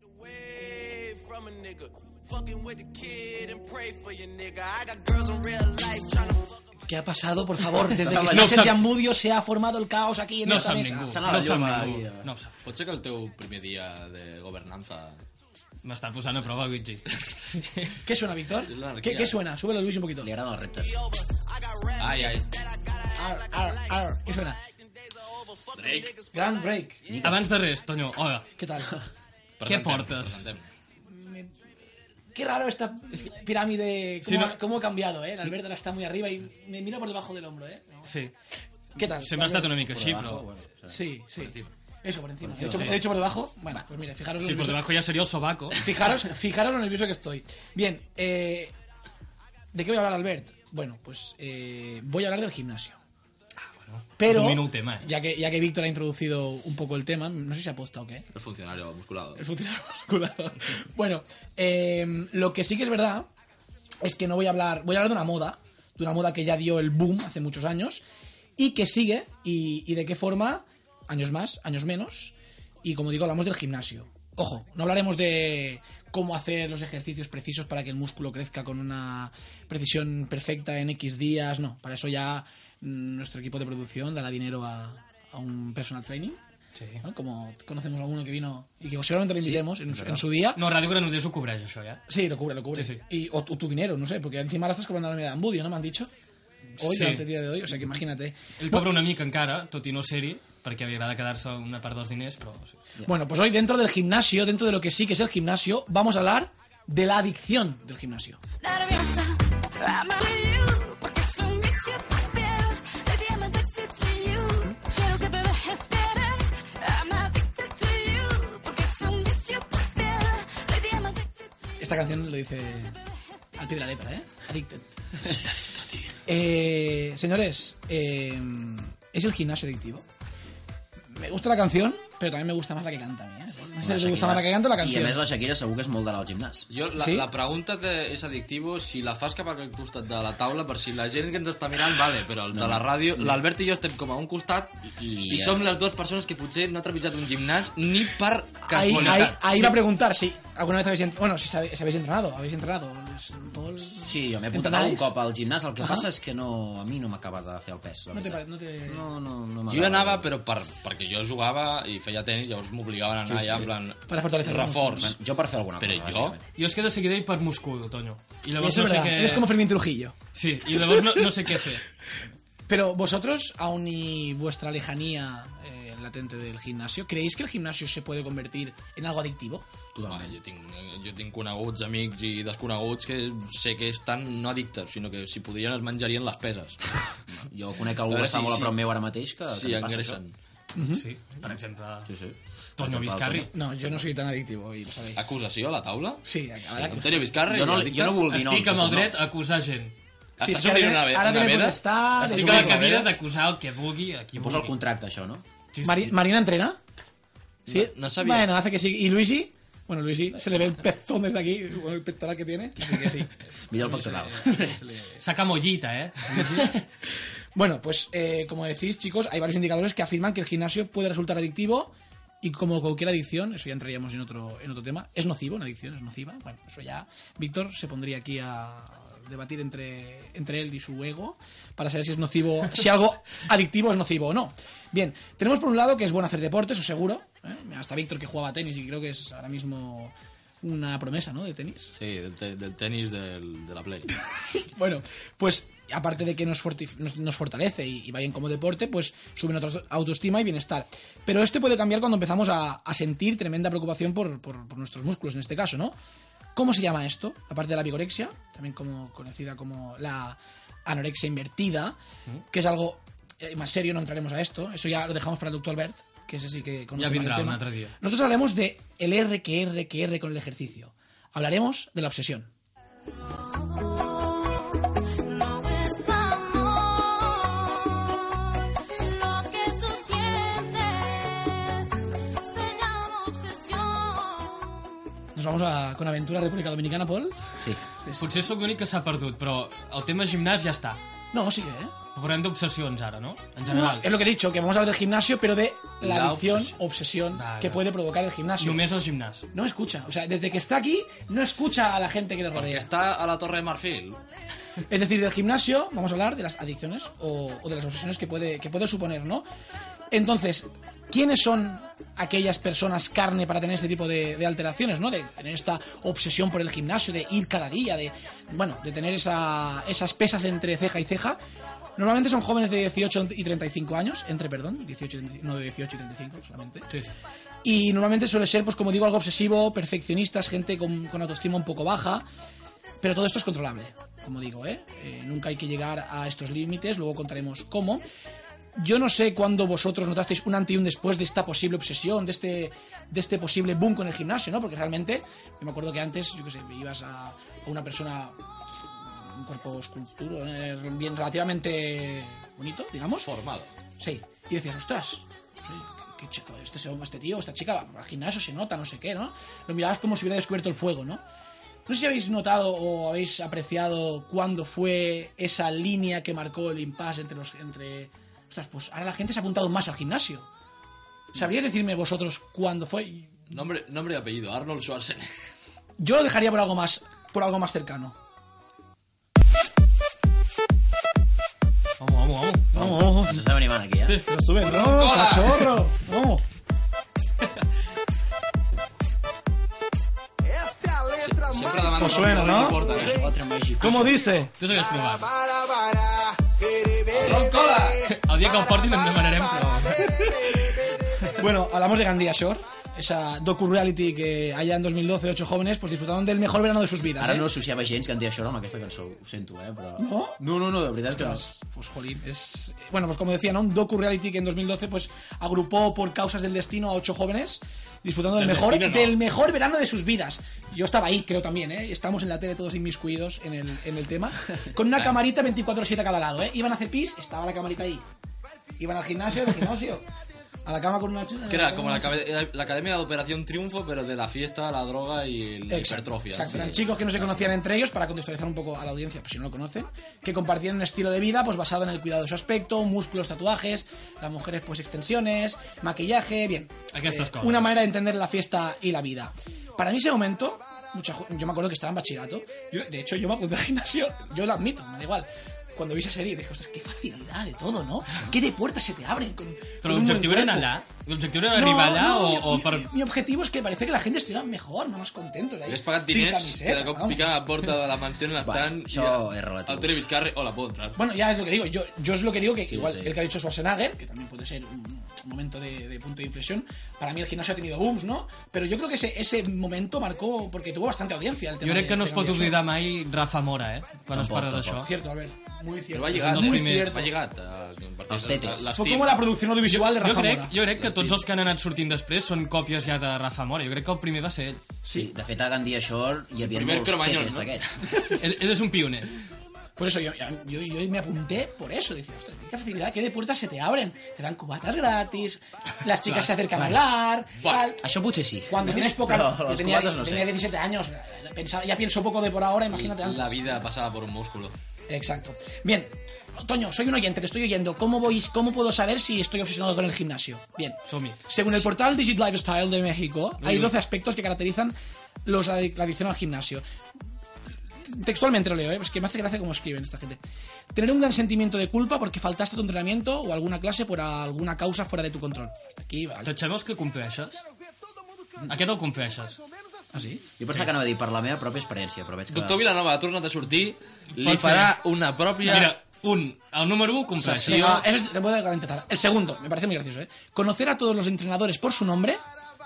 [SPEAKER 9] away from a nigga. Fucking with the kid and pray for your nigga. I got girls in real life tryna fuck.
[SPEAKER 5] ¿Qué ha pasado, por favor? Desde
[SPEAKER 1] No
[SPEAKER 5] que no
[SPEAKER 1] sab-
[SPEAKER 5] Sergi Ambudio se ha formado el caos aquí en
[SPEAKER 1] No ho
[SPEAKER 5] esta
[SPEAKER 1] sap
[SPEAKER 5] mesa.
[SPEAKER 1] ningú.
[SPEAKER 8] s'ha
[SPEAKER 1] No
[SPEAKER 8] anat la
[SPEAKER 1] ho sap
[SPEAKER 8] llum
[SPEAKER 1] ningú.
[SPEAKER 8] aquí.
[SPEAKER 1] No ho sap.
[SPEAKER 6] Pot ser que el teu primer dia de governanza...
[SPEAKER 1] M'està posant a prova, Luigi.
[SPEAKER 5] ¿Qué suena, Víctor?
[SPEAKER 6] Es la anarquía.
[SPEAKER 5] ¿Qué, ¿Qué suena? Súbelo, Luis, un poquito.
[SPEAKER 8] Li agraden els reptes.
[SPEAKER 6] Ai, ai.
[SPEAKER 5] Ar, ar, ar. ¿Qué suena?
[SPEAKER 6] Drake.
[SPEAKER 5] Grand Break.
[SPEAKER 1] Abans de res, Tonyo, hola.
[SPEAKER 5] ¿Qué tal?
[SPEAKER 1] Què
[SPEAKER 6] Presentem,
[SPEAKER 1] portes?
[SPEAKER 6] presentem.
[SPEAKER 5] Qué raro esta pirámide.
[SPEAKER 1] Sí,
[SPEAKER 5] ¿Cómo,
[SPEAKER 1] no-
[SPEAKER 5] ha, cómo ha cambiado, eh? La Alberta está muy arriba y me mira por debajo del hombro, eh.
[SPEAKER 1] Sí.
[SPEAKER 5] ¿Qué tal?
[SPEAKER 1] Sempre ha estat una mica així,
[SPEAKER 8] Abajo,
[SPEAKER 1] però...
[SPEAKER 8] bueno, o sea,
[SPEAKER 5] Sí, sí.
[SPEAKER 6] encima.
[SPEAKER 5] Eso, por encima. He hecho, he hecho por debajo. Bueno, pues mira, fijaros lo
[SPEAKER 1] Sí, per
[SPEAKER 5] nervioso-
[SPEAKER 1] debajo ja seria el sobaco.
[SPEAKER 5] Fijaros, fijaros lo nervioso que estoy. Bien, eh, ¿de qué voy a hablar, Albert? Bueno, pues eh, voy a hablar del gimnasio. Pero,
[SPEAKER 1] domino el tema, eh.
[SPEAKER 5] ya que, ya que Víctor ha introducido un poco el tema, no sé si ha apostado o qué.
[SPEAKER 6] El funcionario musculado.
[SPEAKER 5] El funcionario musculado. Bueno, eh, lo que sí que es verdad es que no voy a hablar. Voy a hablar de una moda. De una moda que ya dio el boom hace muchos años. Y que sigue. Y, y de qué forma. Años más, años menos. Y como digo, hablamos del gimnasio. Ojo, no hablaremos de cómo hacer los ejercicios precisos para que el músculo crezca con una precisión perfecta en X días. No, para eso ya mm, nuestro equipo de producción dará dinero a, a un personal training. ¿no? Como conocemos a uno que vino y que seguramente lo invitemos en, su- en su día.
[SPEAKER 1] No, Ràdio Granollers ho cobreix, això, ja.
[SPEAKER 5] Sí, lo cubre, lo cubre.
[SPEAKER 1] Sí, sí.
[SPEAKER 5] Y, o, tu- tu dinero, no sé, porque encima ahora estás cobrando la media de Ambudio, ¿no me han dicho? Hoy,
[SPEAKER 1] Sí. Mm.
[SPEAKER 5] durante el día de hoy, o sea que imagínate.
[SPEAKER 1] Ell cobra una mica encara, tot i no ser-hi, perquè li agrada quedar-se una part dels diners, però... Sí.
[SPEAKER 5] Bueno, pues hoy dentro del gimnasio, dentro de lo que sí que es el gimnasio, vamos a hablar de la adicción del gimnasio.
[SPEAKER 4] Nerviosa, amarillo, porque es un vicio te espero, baby, I'm addicted to you. Quiero que te dejes esperar. I'm addicted to you, porque es un vicio te espero, baby, I'm addicted to you.
[SPEAKER 5] Esta canción lo dice al pie de la letra, ¿eh? Addicted. Eh, señores, eh, ¿es el gimnasio adictivo? Me gusta la canción, pero también me gusta más la que canta a mí, ¿eh? No sé si te gusta más la que canta o la
[SPEAKER 8] I a
[SPEAKER 5] canción.
[SPEAKER 8] més la Shakira segur que és molt d'anar al gimnàs.
[SPEAKER 6] Jo, la,
[SPEAKER 5] Sí?
[SPEAKER 6] sí? la pregunta de, és addictivo si la fas cap al costat de la taula per si la gent que ens està mirant, vale, però el de la ràdio, l'Albert i jo estem com a un costat
[SPEAKER 8] I-
[SPEAKER 6] i, eh,
[SPEAKER 8] i-
[SPEAKER 6] i som les dues persones que potser no ha trepitjat un gimnàs ni per
[SPEAKER 5] Ahí, ahí,
[SPEAKER 6] casualitat.
[SPEAKER 5] ahí va a preguntar si alguna vez habéis entrenado. Bueno, si, sabe- si habéis entrenado, habéis entrenado. Les- todo el-
[SPEAKER 8] Sí, jo m'he apuntat
[SPEAKER 5] ¿Entrenáis?
[SPEAKER 8] un cop al gimnàs, el que
[SPEAKER 5] Ahà.
[SPEAKER 8] passa és que no, a mi no m'acaba de fer el pes. la
[SPEAKER 5] No te,
[SPEAKER 8] veritat.
[SPEAKER 5] pare- no te...
[SPEAKER 8] No, no, no
[SPEAKER 6] Jo hi
[SPEAKER 8] m'agrada.
[SPEAKER 6] anava, però per, perquè jo jugava i feia tenis, llavors m'obligaven a anar sí, sí. allà en plan...
[SPEAKER 5] Para fortalecer los
[SPEAKER 6] reforç.
[SPEAKER 8] Jo per fer alguna
[SPEAKER 6] Però
[SPEAKER 8] cosa,
[SPEAKER 6] jo?
[SPEAKER 8] bàsicament.
[SPEAKER 1] Jo és que de seguida hi per Moscou, Tonyo. I
[SPEAKER 5] Y
[SPEAKER 1] llavors
[SPEAKER 5] eso
[SPEAKER 1] no
[SPEAKER 5] es
[SPEAKER 1] sé
[SPEAKER 5] verdad.
[SPEAKER 1] què...
[SPEAKER 5] Eres como Fermín Trujillo.
[SPEAKER 1] Sí, i llavors no, no sé què fer.
[SPEAKER 5] Pero vosotros, aun y vuestra lejanía eh, latente del gimnasio, ¿creéis que el gimnasio se puede convertir en algo adictivo?
[SPEAKER 6] Home, jo, tinc, jo tinc coneguts, amics i desconeguts que sé que estan no addictes, sinó que si podrien es menjarien les peses.
[SPEAKER 8] Jo conec algú
[SPEAKER 6] A
[SPEAKER 8] que
[SPEAKER 6] veure
[SPEAKER 8] està
[SPEAKER 6] si-
[SPEAKER 8] molt a
[SPEAKER 6] si-
[SPEAKER 8] prop meu ara mateix que, que
[SPEAKER 6] Si
[SPEAKER 8] li passa
[SPEAKER 6] engressen.
[SPEAKER 5] Mhm.
[SPEAKER 1] Sí, per exemple...
[SPEAKER 8] això. Sí, sí.
[SPEAKER 1] Tonyo Vizcarri.
[SPEAKER 5] No, yo no soy tan adictivo y lo sabéis.
[SPEAKER 6] Acusació a la taula?
[SPEAKER 5] Ah, Sí, la verdad que-
[SPEAKER 6] Antonio Vizcarra
[SPEAKER 8] Jo no,
[SPEAKER 6] i el
[SPEAKER 8] jo no vull dir noms. eh?
[SPEAKER 1] Estic amb el
[SPEAKER 8] de
[SPEAKER 1] dret
[SPEAKER 8] cognoms.
[SPEAKER 1] a acusar gent.
[SPEAKER 5] Sí,
[SPEAKER 6] Estàs
[SPEAKER 5] és que
[SPEAKER 6] obrint
[SPEAKER 5] ara-
[SPEAKER 6] una, ve-
[SPEAKER 5] ara
[SPEAKER 6] una
[SPEAKER 5] tenim
[SPEAKER 6] veda?
[SPEAKER 5] potestat,
[SPEAKER 6] Estàs
[SPEAKER 5] és
[SPEAKER 1] Estic
[SPEAKER 5] un
[SPEAKER 1] a
[SPEAKER 6] obrint
[SPEAKER 1] la
[SPEAKER 6] una
[SPEAKER 1] cadira
[SPEAKER 6] veda?
[SPEAKER 1] d'acusar el que vulgui, a qui
[SPEAKER 8] Posa el
[SPEAKER 1] vulgui.
[SPEAKER 8] contracte, això, no?
[SPEAKER 1] Sí, sí.
[SPEAKER 5] Mari- ¿Marina entrena? ¿Sí?
[SPEAKER 6] No- no sabía.
[SPEAKER 5] Bueno, hace que sí. ¿Y Luigi? Bueno, Luigi, se le ve el pezón desde aquí, con el pectoral que tiene. Así que sí.
[SPEAKER 8] Mira el pectoral.
[SPEAKER 1] Saca mollita, eh?
[SPEAKER 5] Bueno, pues eh, como decís, chicos, hay varios indicadores que afirman que el gimnasio puede resultar adictivo Y como cualquier adicción, eso ya entraríamos en otro, en otro tema, es nocivo, una adicción es nociva. Bueno, eso ya Víctor se pondría aquí a debatir entre, entre él y su ego para saber si es nocivo, si algo adictivo es nocivo o no. Bien, tenemos por un lado que es bueno hacer deporte, eso seguro. ¿eh? Hasta Víctor que jugaba a tenis y creo que es ahora mismo una promesa, ¿no?, de tenis.
[SPEAKER 6] Sí, del, te- del tenis del- de la Play.
[SPEAKER 5] Bueno, pues aparte de que nos, forti- nos- nos fortalece y, y va bien como deporte, pues sube nuestra autoestima y bienestar. Pero esto puede cambiar cuando empezamos a, a sentir tremenda preocupación por, por- por nuestros músculos, en este caso, ¿no? ¿Cómo se llama esto? Aparte de la vigorexia, también como conocida como la anorexia invertida, que es algo eh, más serio, no entraremos a esto. Eso ya lo dejamos para el doctor Bert, que es así que conoce
[SPEAKER 1] Ya
[SPEAKER 5] más el
[SPEAKER 1] vendrá un
[SPEAKER 5] tema.
[SPEAKER 1] otro día.
[SPEAKER 5] Nosotros hablaremos de el R que R que R con el ejercicio. Hablaremos de la obsesión.
[SPEAKER 4] No es amor lo que tú sientes, se llama obsesión.
[SPEAKER 5] Nos vamos a con aventura República Dominicana, Paul.
[SPEAKER 8] Sí.
[SPEAKER 1] Potser sóc l'únic que s'ha perdut, però el tema gimnàs ja està.
[SPEAKER 5] No, sigue, ¿eh?
[SPEAKER 1] Parlem d'obsessions ara, no? En
[SPEAKER 5] No,
[SPEAKER 1] general.
[SPEAKER 5] es lo que he dicho, que vamos a hablar del gimnasio, pero de la,
[SPEAKER 6] La
[SPEAKER 5] adicción, obsesión,
[SPEAKER 6] obsesión.
[SPEAKER 1] Vale,
[SPEAKER 5] que
[SPEAKER 1] vale.
[SPEAKER 5] puede provocar el gimnasio.
[SPEAKER 1] Només el gimnàs.
[SPEAKER 5] No escucha, o sea, desde que está aquí, no escucha a la gente que le
[SPEAKER 6] Perquè
[SPEAKER 5] rodea.
[SPEAKER 6] està a la Torre de Marfil.
[SPEAKER 5] Es decir, del gimnasio vamos a hablar de las adicciones o, o de las obsesiones que puede, que puede suponer, ¿no? Entonces, ¿quiénes son aquellas personas carne para tener este tipo de, de alteraciones, ¿no? De tener esta obsesión por el gimnasio, de ir cada día, de, bueno, de tener esa- esas pesas entre ceja y ceja. Normalmente son jóvenes de 18 y 35 años, entre, perdón, 18, y 35, no de 18 y 35 solamente. Y normalmente suele ser, pues como digo, algo obsesivo, perfeccionistas, gente con, con autoestima un poco baja. Pero todo esto es controlable, como digo, ¿eh? Eh, Nunca hay que llegar a estos límites, luego contaremos cómo. Yo no sé cuándo vosotros notasteis un antes y un después de esta posible obsesión, de este, de este posible boom con el gimnasio, ¿no? Porque realmente, yo me acuerdo que antes, yo qué sé, ibas a, a una persona, un cuerpo esculturo, eh, bien relativamente bonito, digamos.
[SPEAKER 6] Formado.
[SPEAKER 5] Sí. Y decías, ostras, sí, qué qué chico, este, se- este tío, esta chica, va al gimnasio se nota, no sé qué, ¿no? Lo mirabas como si hubiera descubierto el fuego, ¿no? No sé si habéis notado o habéis apreciado cuándo fue esa línea que marcó el impasse entre los. entre. Ostras, pues ahora la gente se ha apuntado más al gimnasio. ¿Sabríais decirme vosotros cuándo fue?
[SPEAKER 6] Nombre, nombre y apellido, Arnold Schwarzenegger.
[SPEAKER 5] Yo lo dejaría por algo más. por algo más cercano.
[SPEAKER 1] Vamos, vamos, vamos.
[SPEAKER 5] Vamos,
[SPEAKER 8] Ens estem animant aquí, eh?
[SPEAKER 5] no sube, no, cachorro. Vamos.
[SPEAKER 3] Essa é a letra
[SPEAKER 6] Sempre davant
[SPEAKER 5] Us
[SPEAKER 6] de
[SPEAKER 5] suena, no?
[SPEAKER 6] porta, eh?
[SPEAKER 8] Otra màgica.
[SPEAKER 5] dice?
[SPEAKER 1] Tu s'hagués
[SPEAKER 5] Ah,
[SPEAKER 1] provat.
[SPEAKER 3] Para, para, bere, bere,
[SPEAKER 6] Ron Cola!
[SPEAKER 1] El dia que el portin en demanarem prova.
[SPEAKER 3] bere, bere, bere.
[SPEAKER 5] Bueno, hablamos de Gandía Shore, esa docu-reality que allá en 2012 ocho jóvenes pues disfrutaron del mejor verano de sus vidas.
[SPEAKER 8] Ara
[SPEAKER 5] ¿eh?
[SPEAKER 8] no associava gens que en dia això amb aquesta cançó, ho sento, eh? Però...
[SPEAKER 5] No?
[SPEAKER 8] No, no, no, de veritat que no.
[SPEAKER 5] Pues jolín, es... Bueno, pues como decía, ¿no? Un docu-reality que en 2012 pues agrupó por causas del destino a ocho jóvenes disfrutando del,
[SPEAKER 6] Del
[SPEAKER 5] mejor,
[SPEAKER 6] destino, no.
[SPEAKER 5] del mejor verano de sus vidas. Yo estaba ahí, creo también, ¿eh? Estamos en la tele todos inmiscuidos en el, en el tema. Con
[SPEAKER 6] Ah.
[SPEAKER 5] una camarita 24-7 a cada lado, ¿eh? Iban a hacer pis, estaba la camarita ahí. Iban al gimnasio, del gimnasio. A la cama con una...
[SPEAKER 6] Que era como la, cabe- la Academia de Operación Triunfo, pero de la fiesta, la droga y la hipertrofia.
[SPEAKER 5] exacto.
[SPEAKER 6] Sí.
[SPEAKER 5] Eran chicos que no se conocían entre ellos, para contextualizar un poco a la audiencia, pues si no lo conocen, que compartían un estilo de vida pues basado en el cuidado de su aspecto, músculos, tatuajes, las mujeres pues extensiones, maquillaje, bien. Eh,
[SPEAKER 1] Aquestes coses.
[SPEAKER 5] Una manera de entender la fiesta y la vida. Para mí ese momento, mucha ju- yo me acuerdo que estaba en bachillerato, yo, de hecho yo me apunté al gimnasio, yo lo admito, me da igual. Cuando vi esa serie dije, ostras, qué facilidad de todo, ¿no? ¿Qué de puertas se te abren con, con
[SPEAKER 1] Però
[SPEAKER 5] un buen
[SPEAKER 1] l'objectiu era anar
[SPEAKER 5] cuerpo?"
[SPEAKER 1] allà? L'objectiu era arribar allà o,
[SPEAKER 5] mi,
[SPEAKER 1] o per...
[SPEAKER 5] mi- mi objetivo es que parece que la gente estuviera mejor, más contentos. Ahí.
[SPEAKER 6] Li has pagat
[SPEAKER 5] Sin
[SPEAKER 6] diners, que
[SPEAKER 5] camiseta,
[SPEAKER 6] de cop
[SPEAKER 5] vamos.
[SPEAKER 6] picava a la porta de la mansió en
[SPEAKER 8] Va,
[SPEAKER 6] l'estant i
[SPEAKER 8] això
[SPEAKER 6] el-
[SPEAKER 8] és relatiu.
[SPEAKER 6] el Travis Carrey, hola, puedo entrar.
[SPEAKER 5] Bueno, ya es lo que digo. Yo, yo es lo que digo que igual
[SPEAKER 8] sí.
[SPEAKER 5] el que ha dicho Schwarzenegger, que también puede ser un un momento de, de punto de inflexión, para mí el gimnasio ha tenido booms, ¿no? Pero yo creo que ese, ese momento marcó, porque tuvo bastante audiencia. El tema
[SPEAKER 1] Jo crec
[SPEAKER 5] de-
[SPEAKER 1] que no
[SPEAKER 5] de
[SPEAKER 1] es pot
[SPEAKER 5] Gandhi Show.
[SPEAKER 1] oblidar mai Rafa Mora, eh? Quan es
[SPEAKER 8] Tampoc,
[SPEAKER 1] parla
[SPEAKER 8] tampoc.
[SPEAKER 1] d'això.
[SPEAKER 5] Cierto, a ver. Muy cierto.
[SPEAKER 6] Però va llegar,
[SPEAKER 1] dels
[SPEAKER 6] eh?
[SPEAKER 1] primers.
[SPEAKER 6] Va llegar. eh,
[SPEAKER 8] Els tetes.
[SPEAKER 6] l'estim.
[SPEAKER 5] Fue como la producción audiovisual de
[SPEAKER 1] Jo
[SPEAKER 5] Rafa
[SPEAKER 1] crec,
[SPEAKER 5] Mora.
[SPEAKER 1] jo crec que tots els que han anat sortint després són còpies ja de Rafa Mora. Jo crec que el primer va ser ell.
[SPEAKER 8] Sí, de fet, a Gandia Shore hi havia
[SPEAKER 6] Primer
[SPEAKER 8] molts
[SPEAKER 6] Cromañón,
[SPEAKER 8] tetes
[SPEAKER 6] no?
[SPEAKER 8] d'aquests.
[SPEAKER 1] Ell, ell és un pioner.
[SPEAKER 5] Por eso yo, yo, yo me apunté por eso. Decía, ostras, qué facilidad, qué de puertas se te abren. Te dan cubatas gratis, las chicas se acercan a hablar,
[SPEAKER 6] Buah.
[SPEAKER 5] tal.
[SPEAKER 8] Això potser sí.
[SPEAKER 5] Cuando tienes poca...
[SPEAKER 8] Però
[SPEAKER 5] yo
[SPEAKER 8] les
[SPEAKER 5] tenía, eh,
[SPEAKER 8] cubates no
[SPEAKER 5] tenía
[SPEAKER 8] sé.
[SPEAKER 5] 17 años. Pensaba, ya pienso poco de por ahora, imagínate antes.
[SPEAKER 6] La vida pasada por un músculo.
[SPEAKER 5] Exacto. Bien. Toño, soy un oyente, te estoy oyendo. ¿Cómo, voy, ¿Cómo puedo saber si estoy obsesionado con el gimnasio? Bien.
[SPEAKER 1] Som-hi.
[SPEAKER 5] Según el portal Digit Lifestyle de México, hay 12 aspectos que caracterizan los adic- la adicción al gimnasio. Textualmente lo leo, ¿eh? es que me hace gracia cómo escriben esta gente. Tener un gran sentimiento de culpa porque faltaste a tu entrenamiento o alguna clase por alguna causa fuera de tu control. Hasta aquí, vale.
[SPEAKER 1] Tots sabeu que compleixes? Aquest el compleixes.
[SPEAKER 5] Ah, sí?
[SPEAKER 8] Jo pensava que anava a dir per la meva pròpia experiència, però veig que...
[SPEAKER 6] Doctor Vilanova ha tornat a sortir, li
[SPEAKER 1] Pot ser.
[SPEAKER 6] farà una pròpia...
[SPEAKER 1] Mira, un, el número 1 compleixes.
[SPEAKER 5] Ah, eso es- te puedo garantizar. El segundo, me parece muy gracioso, ¿eh? Conocer a todos los entrenadores por su nombre.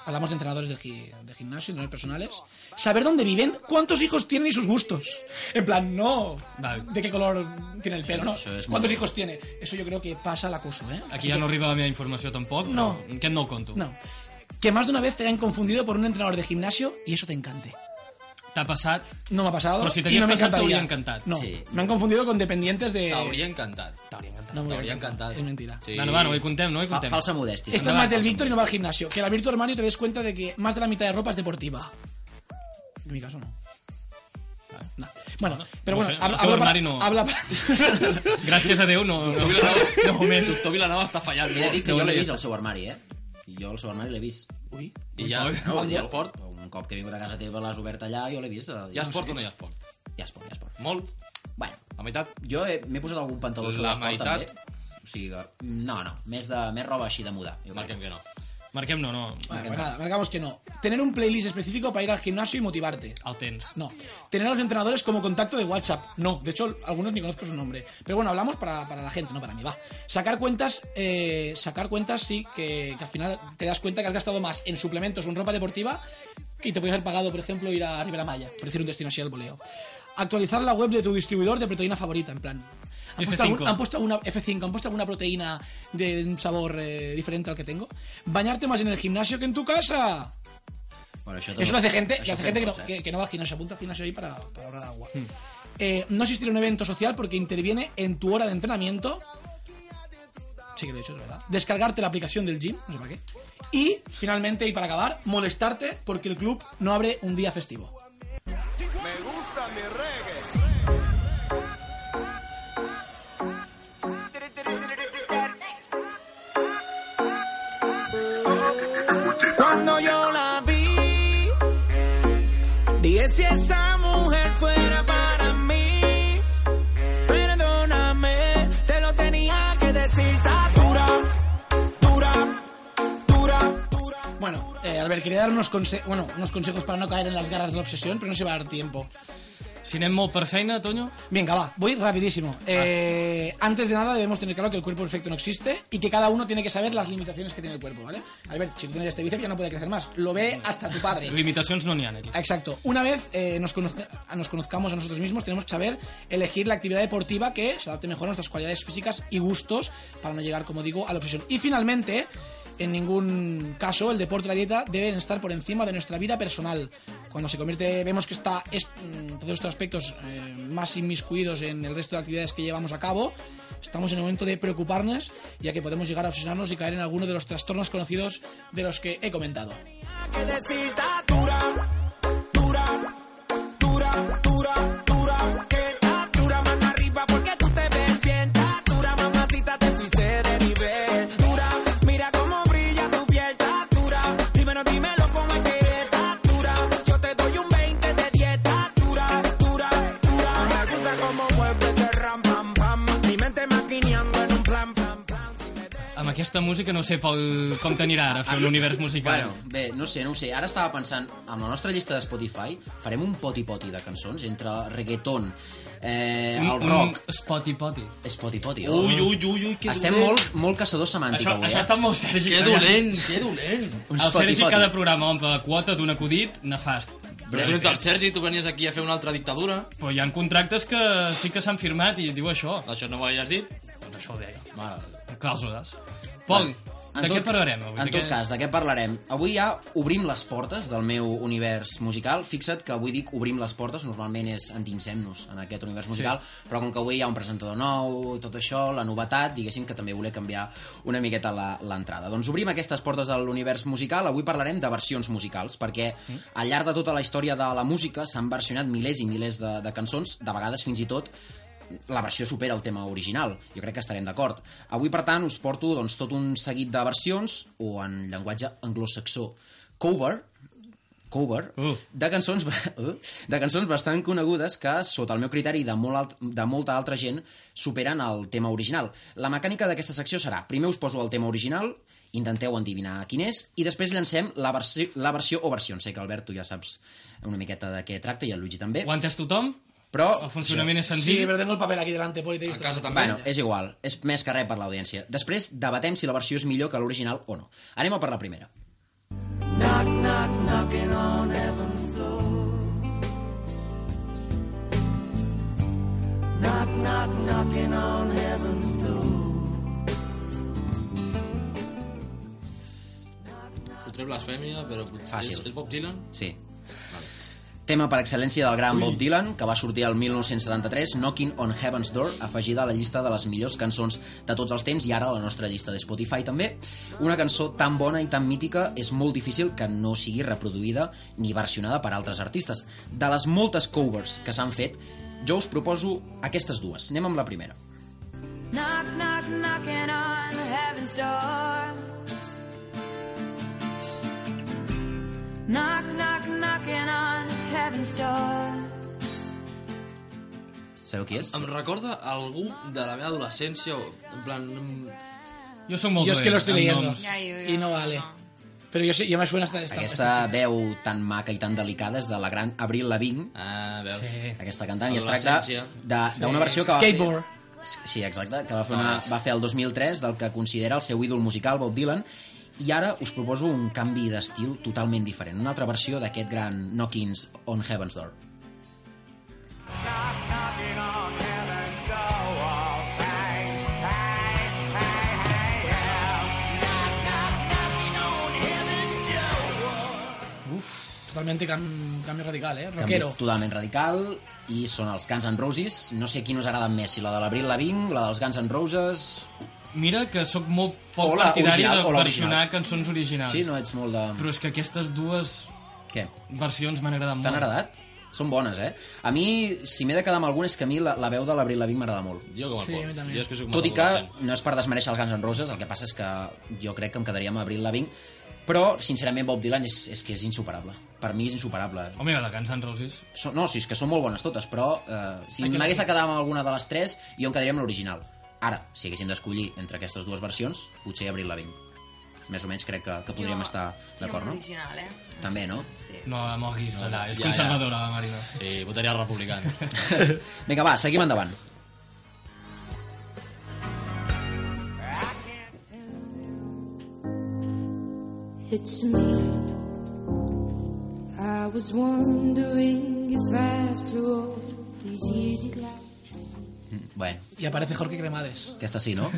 [SPEAKER 5] Hablamos de entrenadores de, gi- de gimnasio, entrenadores personales. Saber dónde viven, cuántos hijos tienen y sus gustos. En plan, no.
[SPEAKER 1] Vale.
[SPEAKER 5] ¿De qué color tiene el pelo? No.
[SPEAKER 8] eso es muy
[SPEAKER 5] ¿Cuántos
[SPEAKER 8] bueno.
[SPEAKER 5] hijos tiene? Eso yo creo que pasa al acoso, ¿eh?
[SPEAKER 1] Aquí ja no arriba la meva informació tampoc,
[SPEAKER 5] No.
[SPEAKER 1] però aquest no ho conto.
[SPEAKER 5] No. Que más de una vez te hayan confundido por un entrenador de gimnasio y eso te encante.
[SPEAKER 1] T'ha passat...
[SPEAKER 5] No me ha pasado.
[SPEAKER 1] Pero si te
[SPEAKER 5] y no
[SPEAKER 1] habías
[SPEAKER 5] me
[SPEAKER 1] pasado, te habría
[SPEAKER 5] encantaría.
[SPEAKER 1] encantado.
[SPEAKER 5] No,
[SPEAKER 8] Sí.
[SPEAKER 5] me han confundido con dependientes de.
[SPEAKER 6] T'hauria encantat. T'hauria encantat.
[SPEAKER 5] No, me
[SPEAKER 6] T'hauria
[SPEAKER 5] hubiera
[SPEAKER 6] encantat.
[SPEAKER 5] Es mentira.
[SPEAKER 6] Sí.
[SPEAKER 1] Bueno, bueno, ho hi contem, no? Ho hi
[SPEAKER 8] Fa,
[SPEAKER 1] contem.
[SPEAKER 8] falsa modèstia.
[SPEAKER 5] Esto es más del Víctor y no va al gimnasio. Que al abrir tu armario te des cuenta de que más de la mitad de ropa es deportiva. En mi caso no. No. Bueno, pero
[SPEAKER 1] No
[SPEAKER 5] bueno,
[SPEAKER 1] sé,
[SPEAKER 5] habla,
[SPEAKER 1] el teu
[SPEAKER 5] habla para-
[SPEAKER 1] armari no-
[SPEAKER 5] habla para-
[SPEAKER 1] Gràcies a Déu, no...
[SPEAKER 6] Doctor
[SPEAKER 1] no.
[SPEAKER 6] Vilanova, de moment, Doctor Vilanova està fallant
[SPEAKER 8] He de dir
[SPEAKER 6] molt.
[SPEAKER 8] que jo
[SPEAKER 1] Déu-n'hi-do.
[SPEAKER 8] l'he vist al seu armari, eh? Jo al seu armari l'he vist.
[SPEAKER 5] Uy,
[SPEAKER 6] I ja,
[SPEAKER 8] No,
[SPEAKER 6] ja
[SPEAKER 8] jo
[SPEAKER 6] es port?
[SPEAKER 8] Un cop que he vingut a casa teva, l'has obert allà, jo l'he vist. eh,
[SPEAKER 6] Ja
[SPEAKER 8] no
[SPEAKER 6] es port
[SPEAKER 8] sé.
[SPEAKER 6] o no ja es port?
[SPEAKER 8] Ja es pot, ja es pot.
[SPEAKER 6] Molt?
[SPEAKER 8] Bueno,
[SPEAKER 6] A meitat?
[SPEAKER 8] jo he- m'he posat algun pantaló sobre
[SPEAKER 6] La
[SPEAKER 8] l'esport,
[SPEAKER 6] meitat?
[SPEAKER 8] també. O sigui que... mm, No, no, més, de, més roba així de mudar. Jo crec.
[SPEAKER 6] Marquem que no.
[SPEAKER 1] Marquem no, no.
[SPEAKER 5] bueno, pues nada, marcamos que no. Tener un playlist específico para ir al gimnasio y motivarte.
[SPEAKER 1] El tens.
[SPEAKER 5] No. Tener a los entrenadores como contacto de WhatsApp. No. De hecho, algunos ni conozco su nombre. Pero bueno, hablamos para, para la gente, no para mí. Va. Sacar cuentas, eh, sacar cuentas sí, que, que al final te das cuenta que has gastado más en suplementos o en ropa deportiva que te podías haber pagado, por ejemplo, ir a Rivera Maya, por decir un destino así al voleo. Actualizar la web de tu distribuidor de proteína favorita, en plan. ¿Han puesto,
[SPEAKER 1] F5.
[SPEAKER 5] algún- han puesto alguna F5, han puesto alguna proteína de un sabor eh, diferente al que tengo. Bañarte más en el gimnasio que en tu casa.
[SPEAKER 8] Bueno, això
[SPEAKER 5] Eso lo hace gente,
[SPEAKER 8] això
[SPEAKER 5] lo hace
[SPEAKER 8] fem
[SPEAKER 5] gente que, no,
[SPEAKER 8] tots, eh?
[SPEAKER 5] que- que no va al gimnasio, apunta al gimnasio ahí para, para ahorrar agua. Eh, no asistir a un evento social porque interviene en tu hora de entrenamiento. Sí que lo he hecho, es verdad. Descargarte la aplicación del gym, no sé para qué. Y, finalmente, y para acabar, molestarte porque el club no abre un día festivo.
[SPEAKER 10] Cuando yo la vi, dije si esa mujer fuera para mí, perdóname, te lo tenía que decir, está dura, dura, dura, dura.
[SPEAKER 5] Bueno, eh, Albert, quería dar unos, conse- bueno, unos consejos para no caer en las garras de la obsesión, pero no se va a dar tiempo.
[SPEAKER 1] Si anem molt per feina, Toño,
[SPEAKER 5] Venga, va, voy rapidísimo. Eh, Antes de nada debemos tener claro que el cuerpo perfecto no existe y que cada uno tiene que saber las limitaciones que tiene el cuerpo, ¿vale? Albert, si tú tienes este bíceps ya no puede crecer más. Lo ve hasta tu padre.
[SPEAKER 1] limitacions no n'hi ha aquí.
[SPEAKER 5] Exacto. Una vez eh, nos, conozca- nos conozcamos a nosotros mismos, tenemos que saber elegir la actividad deportiva que se adapte mejor a nuestras cualidades físicas y gustos para no llegar, como digo, a la obsesión. Y finalmente, en ningún caso, el deporte y la dieta deben estar por encima de nuestra vida personal. Cuando se convierte, vemos que está es- mm, todos estos aspectos eh, más inmiscuidos en el resto de actividades que llevamos a cabo, estamos en el momento de preocuparnos, ya que podemos llegar a obsesionarnos y caer en alguno de los trastornos conocidos de los que he comentado.
[SPEAKER 10] que decir está dura, dura, dura, dura, dura, que está dura más arriba porque tú te ves bien, está dura, mamacita te fuiste de nivel, dura, mira cómo brilla tu piel, está dura, dímelo, dímelo cómo es que está dura, yo te doy un 20 de 10, está dura, dura, dura, me gusta cómo mueves de ram, pam, pam, mi mente maquineando en un plan, plan, plan.
[SPEAKER 1] Amb aquesta música no sé, Pol, com t'anirà ara fer un univers musical.
[SPEAKER 8] Bueno, bé, no ho sé, no ho sé. Ara estava pensant, amb la nostra llista de Spotify, farem un poti-poti de cançons entre reggaeton, eh, el rock...
[SPEAKER 1] Un spotty-potty.
[SPEAKER 8] És poti-poti, oh.
[SPEAKER 6] Mm, Ui, ui, ui, ui, que
[SPEAKER 8] Estem
[SPEAKER 6] dolent.
[SPEAKER 8] molt, molt caçador semàntic,
[SPEAKER 1] Això,
[SPEAKER 8] avui,
[SPEAKER 1] això
[SPEAKER 8] eh?
[SPEAKER 1] està molt Sergi.
[SPEAKER 6] Que
[SPEAKER 1] allà.
[SPEAKER 6] dolent, que dolent.
[SPEAKER 8] Un
[SPEAKER 1] El Sergi
[SPEAKER 8] poti-poti.
[SPEAKER 1] cada programa omple la quota d'un acudit nefast.
[SPEAKER 6] Però tu ets el Sergi, tu venies aquí a fer una altra dictadura.
[SPEAKER 1] Però hi ha contractes que sí que s'han firmat i diu això.
[SPEAKER 6] Això no ho havies dit?
[SPEAKER 1] Doncs això ho deia.
[SPEAKER 8] Mare de Déu.
[SPEAKER 1] Clàusules. Pol,
[SPEAKER 8] En
[SPEAKER 1] de
[SPEAKER 8] tot-
[SPEAKER 1] què parlarem avui?
[SPEAKER 8] En
[SPEAKER 1] De
[SPEAKER 8] tot
[SPEAKER 1] què-
[SPEAKER 8] cas, de què parlarem? Avui ja obrim les portes del meu univers musical. Fixa't que avui dic obrim les portes, normalment és endinsem-nos en aquest univers musical, però com que avui hi ha un presentador nou, tot això, la novetat, diguéssim que també voler canviar una miqueta la- l'entrada. Doncs obrim aquestes portes de l'univers musical. Avui parlarem de versions musicals, perquè
[SPEAKER 1] Mm.
[SPEAKER 8] al llarg de tota la història de la música s'han versionat milers i milers de, de cançons, de vegades fins i tot la versió supera el tema original. Jo crec que estarem d'acord. Avui, per tant, us porto doncs, tot un seguit de versions, o en llenguatge anglosaxó, cover, cover
[SPEAKER 1] Uh.
[SPEAKER 8] de cançons ba- uh, de cançons bastant conegudes que sota el meu criteri de, molt alt, de molta altra gent superen el tema original. La mecànica d'aquesta secció serà, primer us poso el tema original, intenteu endivinar quin és i després llancem la, versió, la versió o versions. Sé que Albert tu ja saps una miqueta de què tracta i el Luigi també,
[SPEAKER 1] Ho ha entès tothom?
[SPEAKER 8] però
[SPEAKER 1] El funcionament és
[SPEAKER 5] Sí,
[SPEAKER 1] senzill?
[SPEAKER 5] pero tengo el papel aquí delante, Poli. te he
[SPEAKER 6] A
[SPEAKER 5] visto.
[SPEAKER 6] casa també.
[SPEAKER 8] Bueno, és igual, és més que res per l'audiència. Després debatem si la versió és millor que l'original o no. Anem a per la primera.
[SPEAKER 7] Knock, knock, knocking on heaven's door. Knock, knock, knocking on heaven's door.
[SPEAKER 6] Fotré blasfèmia, però potser...
[SPEAKER 8] Fàcil.
[SPEAKER 6] És, és Bob Dylan?
[SPEAKER 8] Sí. Tema per excel·lència del gran Bob Dylan, que va sortir el 1973, Knocking on Heaven's Door, afegida a la llista de les millors cançons de tots els temps i ara a la nostra llista de Spotify també. Una cançó tan bona i tan mítica és molt difícil que no sigui reproduïda ni versionada per altres artistes. De les moltes covers que s'han fet, jo us proposo aquestes dues. Anem amb la primera.
[SPEAKER 4] Knock, knock, knocking on heaven's door. Knock, knock, knocking on heaven's door.
[SPEAKER 8] Sabeu qui és?
[SPEAKER 6] Em recorda algú de la meva adolescència, o, en plan... mm,
[SPEAKER 1] Jo sóc molt
[SPEAKER 5] Yo es que lo estoy
[SPEAKER 1] amb
[SPEAKER 5] leyendo.
[SPEAKER 1] noms.
[SPEAKER 5] Y no vale. Pero yo sí, ya me suena hasta esta.
[SPEAKER 8] Aquesta veu tan maca i tan delicada és de la gran Avril Lavigne,
[SPEAKER 6] Ah, veus?
[SPEAKER 1] Sí.
[SPEAKER 8] aquesta cantant, i es tracta
[SPEAKER 6] Adolescència.
[SPEAKER 8] de- d'una versió que va
[SPEAKER 5] Skateboard.
[SPEAKER 8] fer... Sí, exacte, que va fer, una, va fer el 2003 del que considera el seu ídol musical, Bob Dylan, i ara us proposo un canvi d'estil totalment diferent, una altra versió d'aquest gran Knockings on Heaven's Door.
[SPEAKER 5] Totalmente cam- cambio radical, ¿eh?
[SPEAKER 8] Canvi
[SPEAKER 5] Rockero.
[SPEAKER 8] totalment radical, i són els Guns N' Roses. No sé qui nos agrada més, si la de l'Abril Lavigne, la dels Guns N' Roses...
[SPEAKER 1] Mira que sóc molt poc
[SPEAKER 8] O la
[SPEAKER 1] partidari
[SPEAKER 8] original, o
[SPEAKER 1] de
[SPEAKER 8] la
[SPEAKER 1] versionar
[SPEAKER 8] original.
[SPEAKER 1] cançons originals.
[SPEAKER 8] Sí, no ets molt de...
[SPEAKER 1] Però és que aquestes dues
[SPEAKER 8] Què?
[SPEAKER 1] versions m'han agradat molt.
[SPEAKER 8] T'han agradat? Són bones, eh? A mi, si m'he de quedar amb alguna, és que a mi la, la veu de l'Abril Lavigne m'agrada molt.
[SPEAKER 6] Jo com el
[SPEAKER 5] Sí,
[SPEAKER 6] sí,
[SPEAKER 5] a mi també.
[SPEAKER 6] Jo és que soc molt
[SPEAKER 8] Tot i que
[SPEAKER 6] adolescent.
[SPEAKER 8] no és per desmereixer els Guns N' Roses, el que passa és que jo crec que em quedaria amb Abril Lavigne, però, sincerament, Bob Dylan és, és que és insuperable. Per mi és insuperable.
[SPEAKER 1] Home, la de Guns N' Roses.
[SPEAKER 8] So, no, sí, és que són molt bones totes, però eh, si m'hagués de quedar amb alguna de les tres, jo em quedaria amb l'original. Ara, si haguéssim d'escollir entre aquestes dues versions, potser Abril Lavigne. Més o menys crec que, que podríem estar d'acord, no?
[SPEAKER 11] Original, eh?
[SPEAKER 8] També, no?
[SPEAKER 1] No la moguis d'allà, és
[SPEAKER 6] ja,
[SPEAKER 1] conservadora, la Marina.
[SPEAKER 6] Sí, votaria republicana.
[SPEAKER 8] Vinga, va, seguim endavant.
[SPEAKER 4] It's me. I was wondering if after all these years you'd like
[SPEAKER 8] Mm, Bueno,
[SPEAKER 5] Y aparece Jorge Cremades.
[SPEAKER 8] Aquesta sí, no?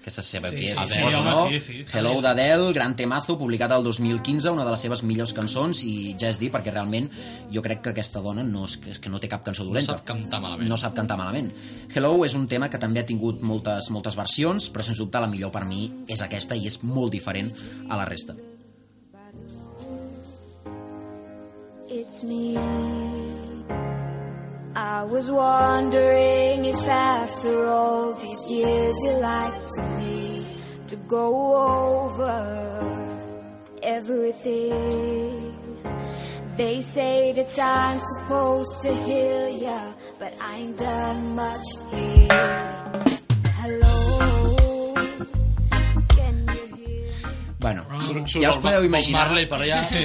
[SPEAKER 8] Aquesta se sabeu
[SPEAKER 5] Sí,
[SPEAKER 8] qui és,
[SPEAKER 5] sí,
[SPEAKER 8] sí,
[SPEAKER 1] sí,
[SPEAKER 8] sí,
[SPEAKER 1] home,
[SPEAKER 8] no?
[SPEAKER 1] sí, sí.
[SPEAKER 8] Hello d'Adele, gran temazo, publicat el 2015, una de les seves millors cançons, i ja és dir, perquè realment jo crec que aquesta dona no, és, és que no té cap cançó dolenta.
[SPEAKER 6] sap cantar malament.
[SPEAKER 8] No sap cantar malament. Hello és un tema que també ha tingut moltes, moltes versions, però sens dubte la millor per mi és aquesta i és molt diferent a la resta.
[SPEAKER 4] It's me. I was wondering if after all these years you liked me to go over everything. They say that time's supposed to heal ya, but I ain't done much here. Hello, can you hear me?
[SPEAKER 8] Bueno,
[SPEAKER 6] Surt
[SPEAKER 8] ja
[SPEAKER 6] el
[SPEAKER 8] us podeu
[SPEAKER 6] Bob
[SPEAKER 8] imaginar...
[SPEAKER 6] Marley per allà. Sí.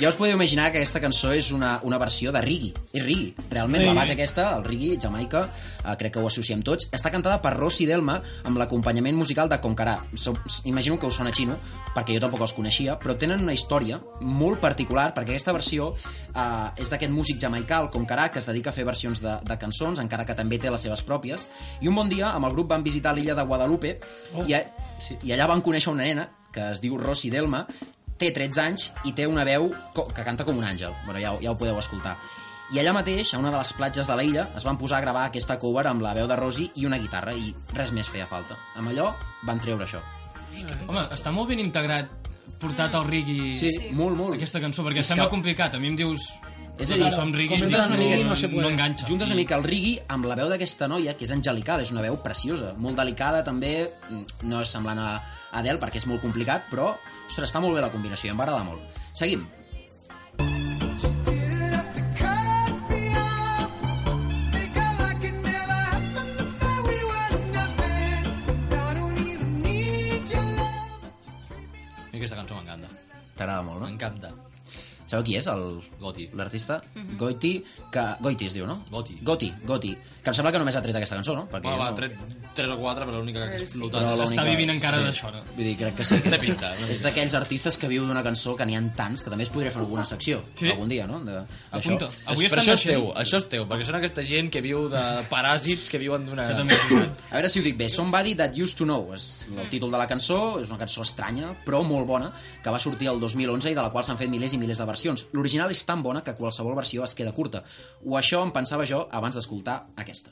[SPEAKER 8] Ja us podeu imaginar que aquesta cançó és una, una versió de reggae. És reggae. Realment, la base aquesta, el reggae, Jamaica, eh, crec que ho associem tots, està cantada per Rossi Delma amb l'acompanyament musical de Concarà. So, s- imagino que us sona xino, perquè jo tampoc els coneixia, però tenen una història molt particular, perquè aquesta versió eh, és d'aquest músic jamaicà, el Concarà, que es dedica a fer versions de, de cançons, encara que també té les seves pròpies. I un bon dia, amb el grup van visitar l'illa de Guadalupe oh. i, a, sí, i allà van conèixer una nena que es diu Rossi Delma, té 13 anys i té una veu co- que canta com un àngel. Bueno, ja, ho- ja ho podeu escoltar. I allà mateix, a una de les platges de la illa, es van posar a gravar aquesta cover amb la veu de Rosi i una guitarra, i res més feia falta. Amb allò van treure això.
[SPEAKER 1] Home, està molt ben integrat, portat al rigui
[SPEAKER 8] molt, molt.
[SPEAKER 1] aquesta cançó, perquè
[SPEAKER 8] És
[SPEAKER 1] sembla
[SPEAKER 8] que-
[SPEAKER 1] complicat. A mi em dius
[SPEAKER 8] És a
[SPEAKER 1] Total,
[SPEAKER 8] dir,
[SPEAKER 1] som riguis,
[SPEAKER 8] juntes
[SPEAKER 1] tio,
[SPEAKER 8] una
[SPEAKER 1] no-
[SPEAKER 8] mica-
[SPEAKER 1] no se puede. no enganxa.
[SPEAKER 8] Juntes una mica el rigui amb la veu d'aquesta noia, que és angelical, és una veu preciosa, molt delicada també, mm, no és semblant a Adele perquè és molt complicat, però, ostres, està molt bé la combinació, em va agradar molt. Seguim.
[SPEAKER 6] I aquesta cançó m'encanta.
[SPEAKER 8] T'agrada molt, no?
[SPEAKER 6] M'encanta.
[SPEAKER 8] Sabeu qui és el
[SPEAKER 6] Goti.
[SPEAKER 8] l'artista? Goiti, que... Goiti es diu, no?
[SPEAKER 6] Goti.
[SPEAKER 8] Goti, Goti. Que em sembla que només ha tret aquesta cançó, no? Perquè
[SPEAKER 6] Bueno,
[SPEAKER 8] jo
[SPEAKER 6] va,
[SPEAKER 8] no-
[SPEAKER 6] tret 3 o 4, però l'única que ha
[SPEAKER 2] Sí.
[SPEAKER 6] explotat.
[SPEAKER 8] Però l'única-
[SPEAKER 1] tota Està vivint encara d'això, no?
[SPEAKER 8] Vull dir, crec que sí. Que
[SPEAKER 6] Té
[SPEAKER 8] és,
[SPEAKER 6] pinta, no?
[SPEAKER 8] és d'aquells artistes que viu d'una cançó que n'hi ha tants, que també es podria fer alguna secció,
[SPEAKER 1] Sí.
[SPEAKER 8] algun dia, no? De, d'això.
[SPEAKER 1] Apunta. Avui
[SPEAKER 6] però
[SPEAKER 1] estan
[SPEAKER 6] això és
[SPEAKER 1] naixent.
[SPEAKER 6] teu, això és teu, perquè són aquesta gent que viu de paràsits que viuen d'una...
[SPEAKER 1] Això també és veritat.
[SPEAKER 8] A veure si ho dic bé. Somebody That Used To Know és el títol de la cançó. És una cançó estranya, però molt bona, que va sortir el 2011 i de la qual s'han fet milers i milers de versions. L'original és tan bona que qualsevol versió es queda curta. O això em pensava jo abans d'escoltar aquesta.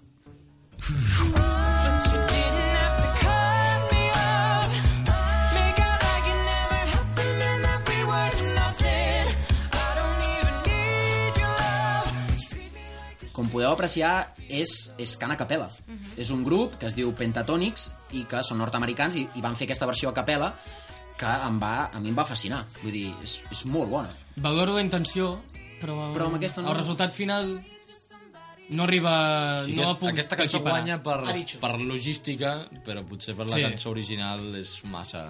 [SPEAKER 8] Com podeu apreciar, és, és Cana Capella. És un grup que es diu Pentatonics i que són nord-americans i, i van fer aquesta versió a capella que em va, a mi em va fascinar. Vull dir, és, és molt bona.
[SPEAKER 1] Valoro la intenció, però,
[SPEAKER 8] Però amb aquesta no.
[SPEAKER 1] el resultat final no arriba...
[SPEAKER 6] Sí,
[SPEAKER 1] no
[SPEAKER 6] no,
[SPEAKER 1] la puc
[SPEAKER 6] aquesta cançó
[SPEAKER 1] equiparar.
[SPEAKER 6] guanya per, per logística, però potser per la
[SPEAKER 1] Sí.
[SPEAKER 6] cançó original és massa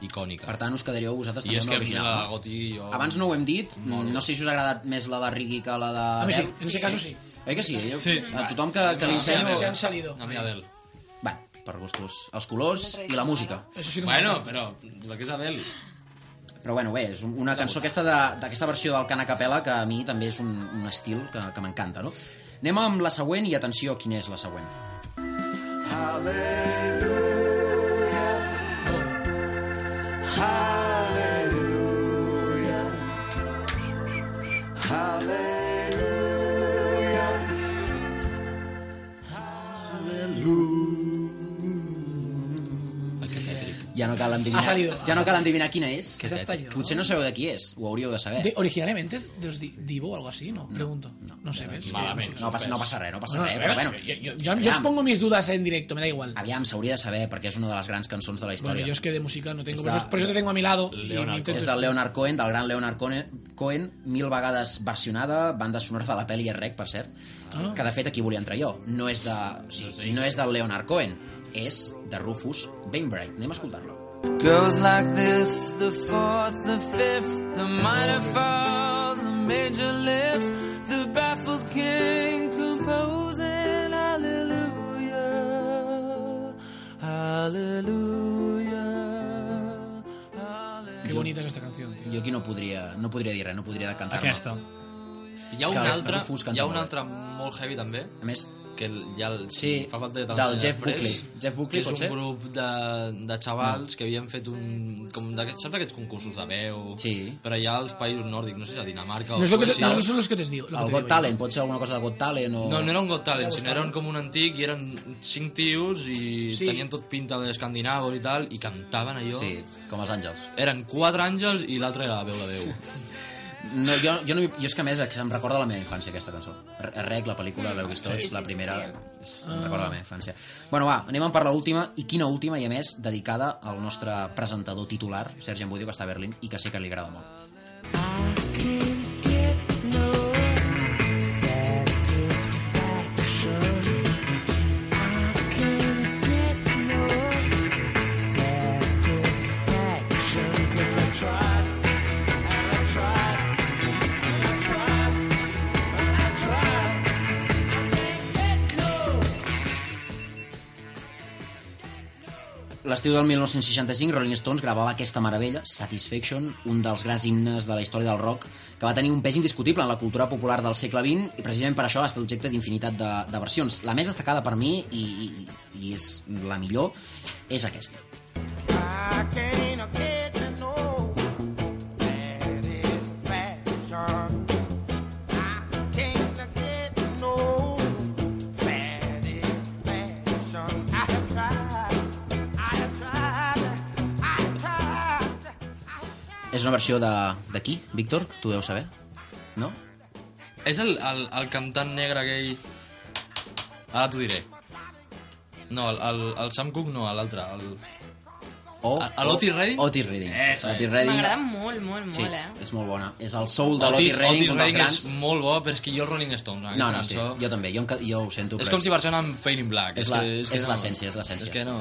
[SPEAKER 6] icònica.
[SPEAKER 8] Per tant, us quedaríeu vosaltres
[SPEAKER 6] I
[SPEAKER 8] també
[SPEAKER 6] és
[SPEAKER 8] amb
[SPEAKER 6] que
[SPEAKER 8] l'original.
[SPEAKER 6] la
[SPEAKER 8] no?
[SPEAKER 6] Goti... Jo...
[SPEAKER 8] Abans no ho hem dit, no sé si us ha agradat més la de Ricky que la de...
[SPEAKER 5] A mi sí,
[SPEAKER 8] Adele.
[SPEAKER 5] en ese caso sí.
[SPEAKER 8] Oi que sí? Jo,
[SPEAKER 1] Sí.
[SPEAKER 8] A tothom que, que li
[SPEAKER 5] Se
[SPEAKER 8] ensenyo...
[SPEAKER 5] han- se han salido.
[SPEAKER 6] A mi Adele.
[SPEAKER 8] Bé, per gustos, els colors i la música.
[SPEAKER 5] Eso sí que me
[SPEAKER 6] Bueno,
[SPEAKER 5] encanta.
[SPEAKER 6] però la que és Adele...
[SPEAKER 8] Però bueno, bé, és un- una cançó aquesta de- d'aquesta versió del Cana Capella que a mi també és un, un estil que, que m'encanta, no? Anem amb la següent i atenció quina és la següent.
[SPEAKER 6] El que
[SPEAKER 8] Eh,
[SPEAKER 6] tètric.
[SPEAKER 8] Ja no cal endevinar,
[SPEAKER 5] Ha salido.
[SPEAKER 8] ja no cal endevinar quina és.
[SPEAKER 5] Pues hasta yo.
[SPEAKER 8] Potser no sabeu de qui és, ho hauríeu de saber.
[SPEAKER 5] De- originalmente es de los Di- Divo o algo así, ¿no? Pregunto. No, sé, ¿ves?
[SPEAKER 6] Malament.
[SPEAKER 8] No passa, no passa res, no passa
[SPEAKER 5] No, no,
[SPEAKER 8] res,
[SPEAKER 5] a
[SPEAKER 8] però
[SPEAKER 5] ver,
[SPEAKER 8] bueno.
[SPEAKER 5] yo, yo- yo- yo expongo mis dudas en directo, me da igual.
[SPEAKER 8] Aviam, s'hauria de saber perquè és una de les grans cançons de la
[SPEAKER 5] Bueno,
[SPEAKER 8] història.
[SPEAKER 5] yo es que de música no tengo.
[SPEAKER 8] Es
[SPEAKER 5] Por eso,
[SPEAKER 8] la-
[SPEAKER 5] por eso te tengo a mi lado. y
[SPEAKER 6] Leonard
[SPEAKER 5] intento-
[SPEAKER 8] És del Leonard Cohen, del gran Leonard Cohen, Cohen mil vegades versionada, banda sonora de la pel·li és rec, per cert, ah. que de fet aquí volia entrar jo. No és, de, sí, no és del Leonard Cohen, és de Rufus Wainwright. Anem a escoltar-lo.
[SPEAKER 7] Goes like this the fourth, the fifth, the minor fall, the major lift, the baffled king composing hallelujah, hallelujah, hallelujah.
[SPEAKER 5] Qué bonita es esta canción, tío.
[SPEAKER 8] Jo aquí no podria, no podria dir res, no podria cantar
[SPEAKER 1] Aquesta.
[SPEAKER 6] Hi ha
[SPEAKER 8] És que
[SPEAKER 6] un
[SPEAKER 8] aquesta
[SPEAKER 6] altre,
[SPEAKER 8] Rufus canta
[SPEAKER 6] hi ha
[SPEAKER 8] molt
[SPEAKER 6] un
[SPEAKER 8] bé.
[SPEAKER 6] altre molt heavy també,
[SPEAKER 8] A més,
[SPEAKER 6] que el- ja el,
[SPEAKER 8] Sí,
[SPEAKER 6] fa falta de
[SPEAKER 8] del
[SPEAKER 6] t'ensenyar
[SPEAKER 8] Jeff
[SPEAKER 6] després,
[SPEAKER 8] Buckley. Jeff Buckley,
[SPEAKER 6] que
[SPEAKER 8] pot
[SPEAKER 6] és
[SPEAKER 8] ser?
[SPEAKER 6] un grup de, de xavals que havien fet un... Com d'aquests, saps d'aquests concursos de veu?
[SPEAKER 8] Sí.
[SPEAKER 6] Però allà als països nòrdics, no sé si a Dinamarca o...
[SPEAKER 5] No, es lo que te-
[SPEAKER 6] sí,
[SPEAKER 5] no
[SPEAKER 6] sí.
[SPEAKER 5] son los que te digo. lo que
[SPEAKER 8] el
[SPEAKER 5] te
[SPEAKER 8] Got
[SPEAKER 5] digo yo.
[SPEAKER 8] Talent, pot ser alguna cosa de Got Talent o...
[SPEAKER 6] No, no era un Got Talent, sinó era un, com un antic i eren cinc tios i
[SPEAKER 5] Sí.
[SPEAKER 6] sí. tenien tot pinta d'escandinavos i tal i cantaven allò.
[SPEAKER 8] Sí, com els àngels.
[SPEAKER 6] Eren quatre àngels i l'altre era la veu de Déu.
[SPEAKER 8] No, jo, jo, no, m'hi- jo és que a més em recorda la meva infància aquesta cançó. R- Rec, la pel·lícula, l'heu vist tots,
[SPEAKER 2] Mm. sí, sí,
[SPEAKER 8] la
[SPEAKER 2] sí,
[SPEAKER 8] primera...
[SPEAKER 2] sí.
[SPEAKER 8] és- Em recorda la meva infància. Bueno, va, anem per l'última, i quina última, i a més, dedicada al nostre presentador titular, Sergi Embudio, que està a Berlín, i que sé que li agrada molt. L'estiu del 1965, Rolling Stones gravava aquesta meravella, Satisfaction, un dels grans himnes de la història del rock, que va tenir un pes indiscutible en la cultura popular del segle XX i precisament per això ha estat objecte d'infinitat de, de versions. La més destacada per mi, i, i, i és la millor, és aquesta.
[SPEAKER 3] I can't get no satisfaction. I can't get no satisfaction. I have tried. I have tried. I have tried.
[SPEAKER 8] És una versió de... de qui, Víctor? Tu deus saber? No?
[SPEAKER 6] És el, el, el cantant negre aquell... Ara t'ho diré. No, el, el, el Sam Cooke no, l'altre. El...
[SPEAKER 8] O,
[SPEAKER 6] A- a l'Otis Redding?
[SPEAKER 8] Otis Redding.
[SPEAKER 6] Eso,
[SPEAKER 8] Otis
[SPEAKER 11] M'agrada
[SPEAKER 8] Redding.
[SPEAKER 11] molt, molt, molt,
[SPEAKER 8] Sí,
[SPEAKER 11] eh?
[SPEAKER 8] és molt bona. És el soul de l'Otis Redding,
[SPEAKER 6] Otis
[SPEAKER 8] un dels
[SPEAKER 6] Redding
[SPEAKER 8] grans.
[SPEAKER 6] és molt bo, però és que jo els Rolling Stones. aquesta
[SPEAKER 8] No, no, sí,
[SPEAKER 6] cançó-
[SPEAKER 8] jo també, jo, enca- jo ho sento.
[SPEAKER 6] És
[SPEAKER 8] però
[SPEAKER 6] com si version en Pain in Black.
[SPEAKER 8] És, la,
[SPEAKER 6] que-
[SPEAKER 8] és,
[SPEAKER 6] que no.
[SPEAKER 8] l'essència, és l'essència.
[SPEAKER 6] És que no...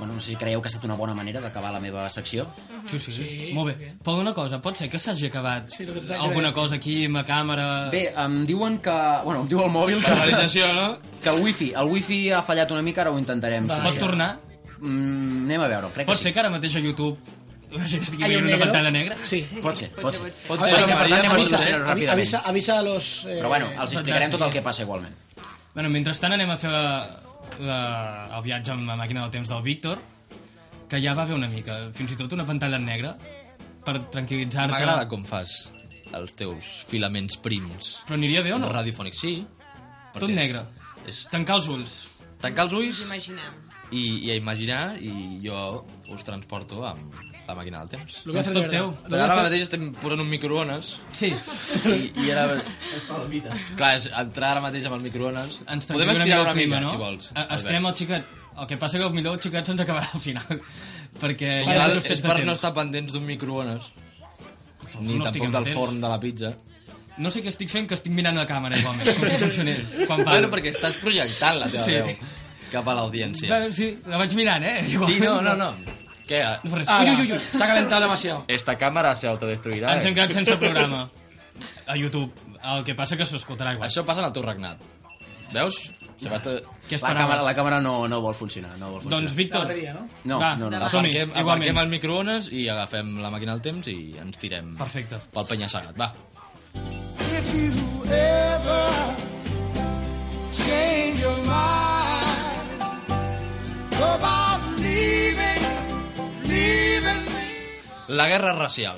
[SPEAKER 8] Bueno, no sé si creieu que ha estat una bona manera d'acabar la meva secció.
[SPEAKER 1] Sí, sí, sí. Molt bé. Però una cosa, pot ser que s'hagi acabat
[SPEAKER 5] Sí, el que s'ha
[SPEAKER 1] alguna
[SPEAKER 5] acabat.
[SPEAKER 1] cosa aquí amb la càmera...
[SPEAKER 8] Bé, em diuen que... Bueno, em diu el mòbil
[SPEAKER 6] La
[SPEAKER 8] que,
[SPEAKER 6] realització, no?
[SPEAKER 8] que el wifi, el wifi ha fallat una mica, ara ho intentarem.
[SPEAKER 5] Va.
[SPEAKER 1] Pot
[SPEAKER 8] solucionar.
[SPEAKER 1] tornar?
[SPEAKER 8] Mm, anem a veure, crec
[SPEAKER 1] Pot
[SPEAKER 8] que sí.
[SPEAKER 1] ser que ara mateix a YouTube la gent estigui
[SPEAKER 5] Hay
[SPEAKER 1] veient
[SPEAKER 5] un
[SPEAKER 1] una
[SPEAKER 5] negro.
[SPEAKER 1] pantalla negra?
[SPEAKER 5] Sí.
[SPEAKER 8] Pot ser, pot ser.
[SPEAKER 11] ser.
[SPEAKER 6] Pot
[SPEAKER 8] Pot
[SPEAKER 6] ser,
[SPEAKER 8] ser,
[SPEAKER 6] la
[SPEAKER 8] per tant,
[SPEAKER 6] Maria
[SPEAKER 8] anem a
[SPEAKER 6] pot
[SPEAKER 8] solucionar
[SPEAKER 6] ser.
[SPEAKER 5] Avi-
[SPEAKER 8] ràpidament.
[SPEAKER 5] Avisa, avisa a los... Eh,
[SPEAKER 8] Però bueno, els explicarem
[SPEAKER 1] fantàstic.
[SPEAKER 8] tot el que passa igualment.
[SPEAKER 1] Bueno, mentrestant anem a fer la, la, el viatge amb la màquina del temps del Víctor, que ja va bé una mica, fins i tot una pantalla negra, per tranquil·litzar-te.
[SPEAKER 6] M'agrada com fas els teus filaments prims.
[SPEAKER 1] Però aniria bé o no?
[SPEAKER 6] Radiofònic, sí.
[SPEAKER 1] Tot
[SPEAKER 6] perquè és-
[SPEAKER 1] negre.
[SPEAKER 6] És
[SPEAKER 1] Tancar els ulls.
[SPEAKER 6] tancar els ulls
[SPEAKER 11] Imaginem.
[SPEAKER 6] i, i a imaginar i jo us transporto amb la màquina del temps.
[SPEAKER 5] Lo voy a hacer de
[SPEAKER 1] Tot
[SPEAKER 5] verdad.
[SPEAKER 1] teu.
[SPEAKER 5] Lo
[SPEAKER 6] Però
[SPEAKER 5] voy a
[SPEAKER 6] ara
[SPEAKER 5] hacer-
[SPEAKER 6] mateix estem posant un microones
[SPEAKER 1] Sí.
[SPEAKER 6] i, i ara... Clar, és entrar ara mateix amb el microones.
[SPEAKER 1] Ens
[SPEAKER 6] Podem
[SPEAKER 1] tranquil·lira
[SPEAKER 6] estirar una
[SPEAKER 1] el clima,
[SPEAKER 6] mica,
[SPEAKER 1] no?
[SPEAKER 6] si vols.
[SPEAKER 1] A- Estirem el xiquet. El que passa que millor el xiquet se'ns acabarà al final. perquè hi ha
[SPEAKER 6] Total,
[SPEAKER 1] dos
[SPEAKER 6] és
[SPEAKER 1] fets de
[SPEAKER 6] per no
[SPEAKER 1] temps. Doncs
[SPEAKER 6] estar pendents d'un microones. Ni
[SPEAKER 1] no
[SPEAKER 6] tampoc
[SPEAKER 1] estiguem
[SPEAKER 6] del
[SPEAKER 1] atents.
[SPEAKER 6] forn de la pizza.
[SPEAKER 1] No sé què estic fent, que estic mirant la càmera igualment, com si funcionés. Quan parlo.
[SPEAKER 6] Bueno, perquè estàs projectant la teva
[SPEAKER 1] Sí.
[SPEAKER 6] veu cap a l'audiència.
[SPEAKER 1] Bueno, sí, la vaig mirant, eh?
[SPEAKER 6] Sí, no, no, no. Què?
[SPEAKER 1] no res.
[SPEAKER 5] Ala,
[SPEAKER 1] Ui, ui, ui, ui.
[SPEAKER 5] Se ha calentado demasiado.
[SPEAKER 6] Esta càmera se autodestruirà. eh?
[SPEAKER 1] Ens hem quedat sense programa. A YouTube. El que passa que s'escoltarà igual.
[SPEAKER 6] Això passa en el teu regnat. Veus? Se va tot...
[SPEAKER 1] Què
[SPEAKER 8] La
[SPEAKER 1] esperaves?
[SPEAKER 8] càmera, la càmera no, no vol funcionar, no vol funcionar.
[SPEAKER 1] Doncs,
[SPEAKER 5] La
[SPEAKER 1] Víctor,
[SPEAKER 5] bateria, ¿no?
[SPEAKER 8] No,
[SPEAKER 1] va,
[SPEAKER 8] no, no.
[SPEAKER 1] va. Som-hi,
[SPEAKER 6] Aparquem,
[SPEAKER 1] igualment.
[SPEAKER 6] aparquem el microones i agafem la màquina del temps i ens tirem
[SPEAKER 1] Perfecte.
[SPEAKER 6] pel penya-segat. Va.
[SPEAKER 10] If you ever change your mind about leaving, leaving me.
[SPEAKER 6] La guerra racial.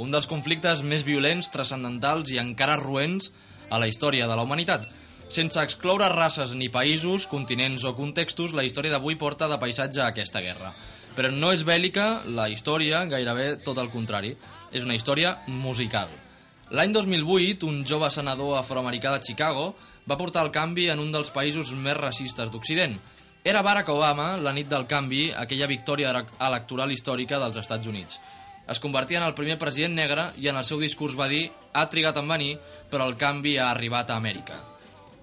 [SPEAKER 6] Un dels conflictes més violents, transcendentals i encara roents a la història de la humanitat. Sense excloure races ni països, continents o contextos, la història d'avui porta de paisatge a aquesta guerra. Però no és bèl·lica la història, gairebé tot el contrari. És una història musical. L'any 2008, un jove senador afroamericà de Chicago va portar el canvi en un dels països més racistes d'Occident. Era Barack Obama, la nit del canvi, aquella victòria era- electoral històrica dels Estats Units. Es convertia en el primer president negre i en el seu discurs va dir «Ha trigat en venir, però el canvi ha arribat a Amèrica».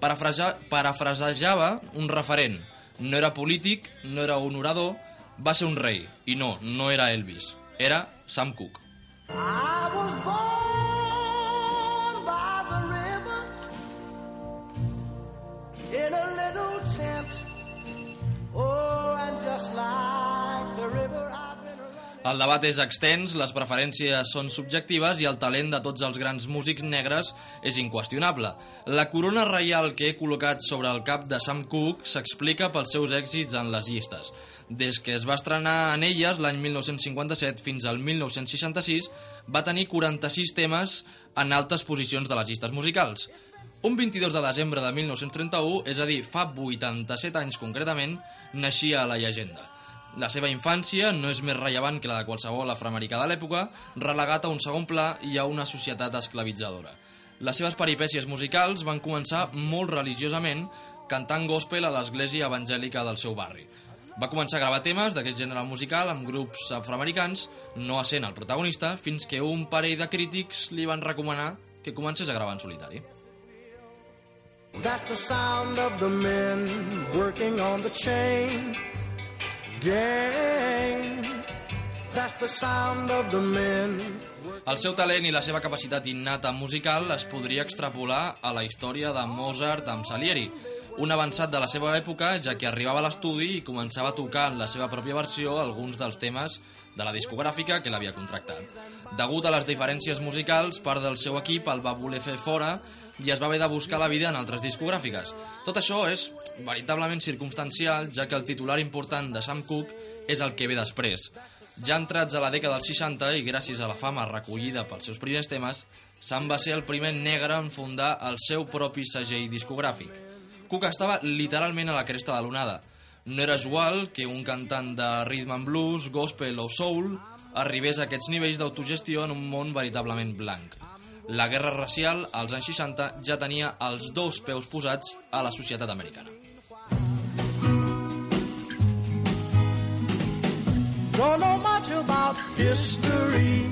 [SPEAKER 6] Parafrasa- Parafrasejava un referent. No era polític, no era honorador, va ser un rei. I no, no era Elvis. Era Sam Cooke.
[SPEAKER 10] I was born by the river in a little tent. Oh, and just like the river, I've been running.
[SPEAKER 6] El debat és extens, les preferències són subjectives i el talent de tots els grans músics negres és inqüestionable. La corona reial que he col·locat sobre el cap de Sam Cooke s'explica pels seus èxits en les llistes. Des que es va estrenar en elles l'any 1957 fins al 1966, va tenir 46 temes en altes posicions de les llistes musicals. Un 22 de desembre de 1931, és a dir, fa 87 anys concretament, naixia la llegenda. La seva infància no és més rellevant que la de qualsevol afroamericà de l'època, relegat a un segon pla i a una societat esclavitzadora. Les seves peripècies musicals van començar molt religiosament, cantant gospel a l'església evangèlica del seu barri. Va començar a gravar temes d'aquest gènere musical amb grups afroamericans, no essent el protagonista, fins que un parell de crítics li van recomanar que comencés a gravar en solitari.
[SPEAKER 10] That's the sound of the men working on the chain gang. That's the sound of the men
[SPEAKER 6] El seu talent i la seva capacitat innata musical es podria extrapolar a la història de Mozart amb Salieri, un avançat de la seva època, ja que arribava a l'estudi i començava a tocar en la seva pròpia versió alguns dels temes de la discogràfica que l'havia contractat. Degut a les diferències musicals, part del seu equip el va voler fer fora i es va haver de buscar la vida en altres discogràfiques. Tot això és veritablement circumstancial, ja que el titular important de Sam Cooke és el que ve després. Ja entrats a la dècada dels 60 i gràcies a la fama recollida pels seus primers temes, Sam va ser el primer negre en fundar el seu propi segell discogràfic. Cook estava literalment a la cresta de l'onada. No era usual que un cantant de rhythm and blues, gospel o soul arribés a aquests nivells d'autogestió en un món veritablement blanc. La guerra racial, als anys 60, ja tenia els dos peus posats a la societat americana.
[SPEAKER 3] Don't know much about history.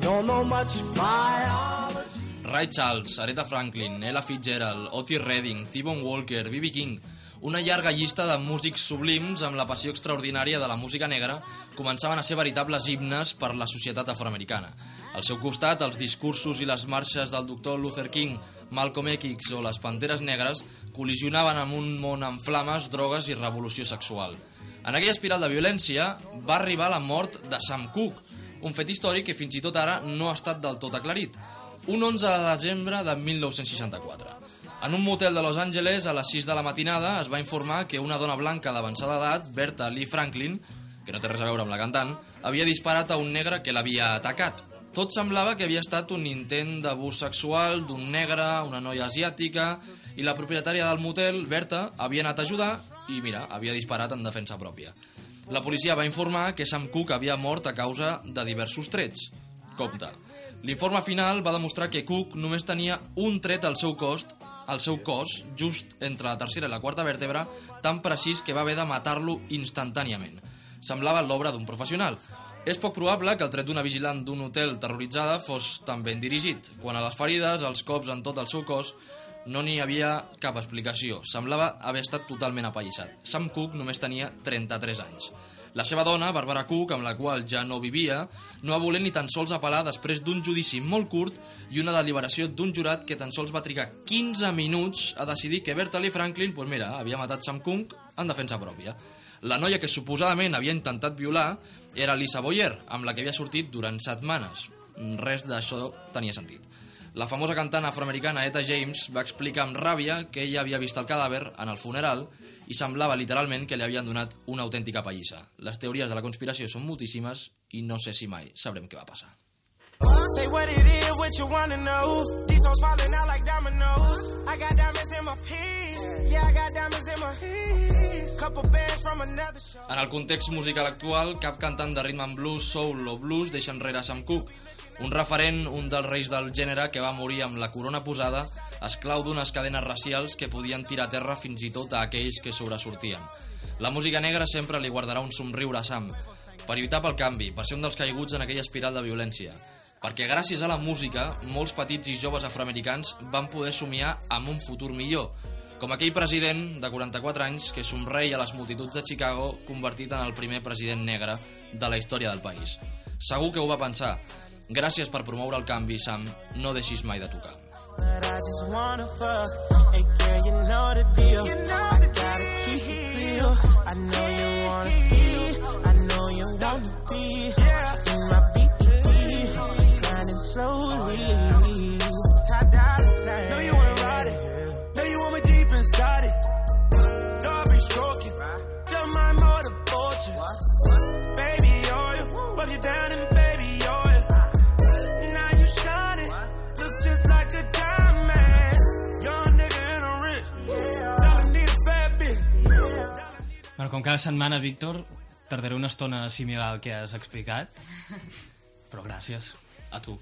[SPEAKER 3] Don't know much biology.
[SPEAKER 6] Ray Charles, Aretha Franklin, Ella Fitzgerald, Otis Redding, T-Bone Walker, B.B. King... Una llarga llista de músics sublims amb la passió extraordinària de la música negra començaven a ser veritables himnes per la societat afroamericana. Al seu costat, els discursos i les marxes del doctor Luther King, Malcolm X o les Panteres Negres col·lisionaven amb un món en flames, drogues i revolució sexual. En aquella espiral de violència va arribar la mort de Sam Cooke, un fet històric que fins i tot ara no ha estat del tot aclarit. Un 11 de desembre de 1964. En un motel de Los Angeles, a les 6 de la matinada, es va informar que una dona blanca d'avançada edat, Berta Lee Franklin, que no té res a veure amb la cantant, havia disparat a un negre que l'havia atacat. Tot semblava que havia estat un intent d'abús sexual d'un negre, una noia asiàtica, i la propietària del motel, Berta, havia anat a ajudar i, mira, havia disparat en defensa pròpia. La policia va informar que Sam Cooke havia mort a causa de diversos trets. Compte. L'informe final va demostrar que Cook només tenia un tret al seu cost al seu cos, just entre la tercera i la quarta vèrtebra, tan precís que va haver de matar-lo instantàniament. Semblava l'obra d'un professional. És poc probable que el tret d'una vigilant d'un hotel terroritzada fos tan ben dirigit. Quan a les ferides, els cops en tot el seu cos, no n'hi havia cap explicació. Semblava haver estat totalment apallissat. Sam Cook només tenia 33 anys. La seva dona, Barbara Cook, amb la qual ja no vivia, no va voler ni tan sols apel·lar després d'un judici molt curt i una deliberació d'un jurat que tan sols va trigar 15 minuts a decidir que Berta Lee Franklin, doncs mira, havia matat Sam Cook en defensa pròpia. La noia que suposadament havia intentat violar era Lisa Boyer, amb la que havia sortit durant setmanes. Res d'això tenia sentit. La famosa cantant afroamericana Eta James va explicar amb ràbia que ella havia vist el cadàver en el funeral i semblava literalment que li havien donat una autèntica pallissa. Les teories de la conspiració són moltíssimes i no sé si mai sabrem què va passar.
[SPEAKER 10] Say what it is, what you wanna know. These hoes falling out like dominoes. I got diamonds in my piece. Yeah, I got diamonds in my piece. Couple bands from another show.
[SPEAKER 6] En el context musical actual, cap cantant de rhythm and blues, soul o blues deixa enrere Sam Cooke, un referent, un dels reis del gènere que va morir amb la corona posada, esclau d'unes cadenes racials que podien tirar a terra fins i tot a aquells que sobresortien. La música negra sempre li guardarà un somriure a Sam, per lluitar pel canvi, per ser un dels caiguts en aquella espiral de violència. Perquè gràcies a la música, molts petits i joves afroamericans van poder somiar amb un futur millor, com aquell president de 44 anys que somreia a les multituds de Chicago convertit en el primer president negre de la història del país. Segur que ho va pensar. Gràcies per promoure el canvi, Sam. No deixis mai de tocar.
[SPEAKER 10] But I just wanna fuck. And girl, you know the deal. I gotta keep it real. I know you wanna see. I know you wanna be. In my PPP. Grinding slowly. Know you wanna ride it. Know you want me deep inside it. Know I've been stroking. Just my motor fortune. Baby oh, oil. Rub you down in baby oil. Now you shining, look just like a diamond. Young nigga and a rich. Dollar need a bad bitch.
[SPEAKER 1] Bueno, com cada setmana, Víctor, tardaré una estona a assimilar el que has explicat, però gràcies.
[SPEAKER 6] A tu.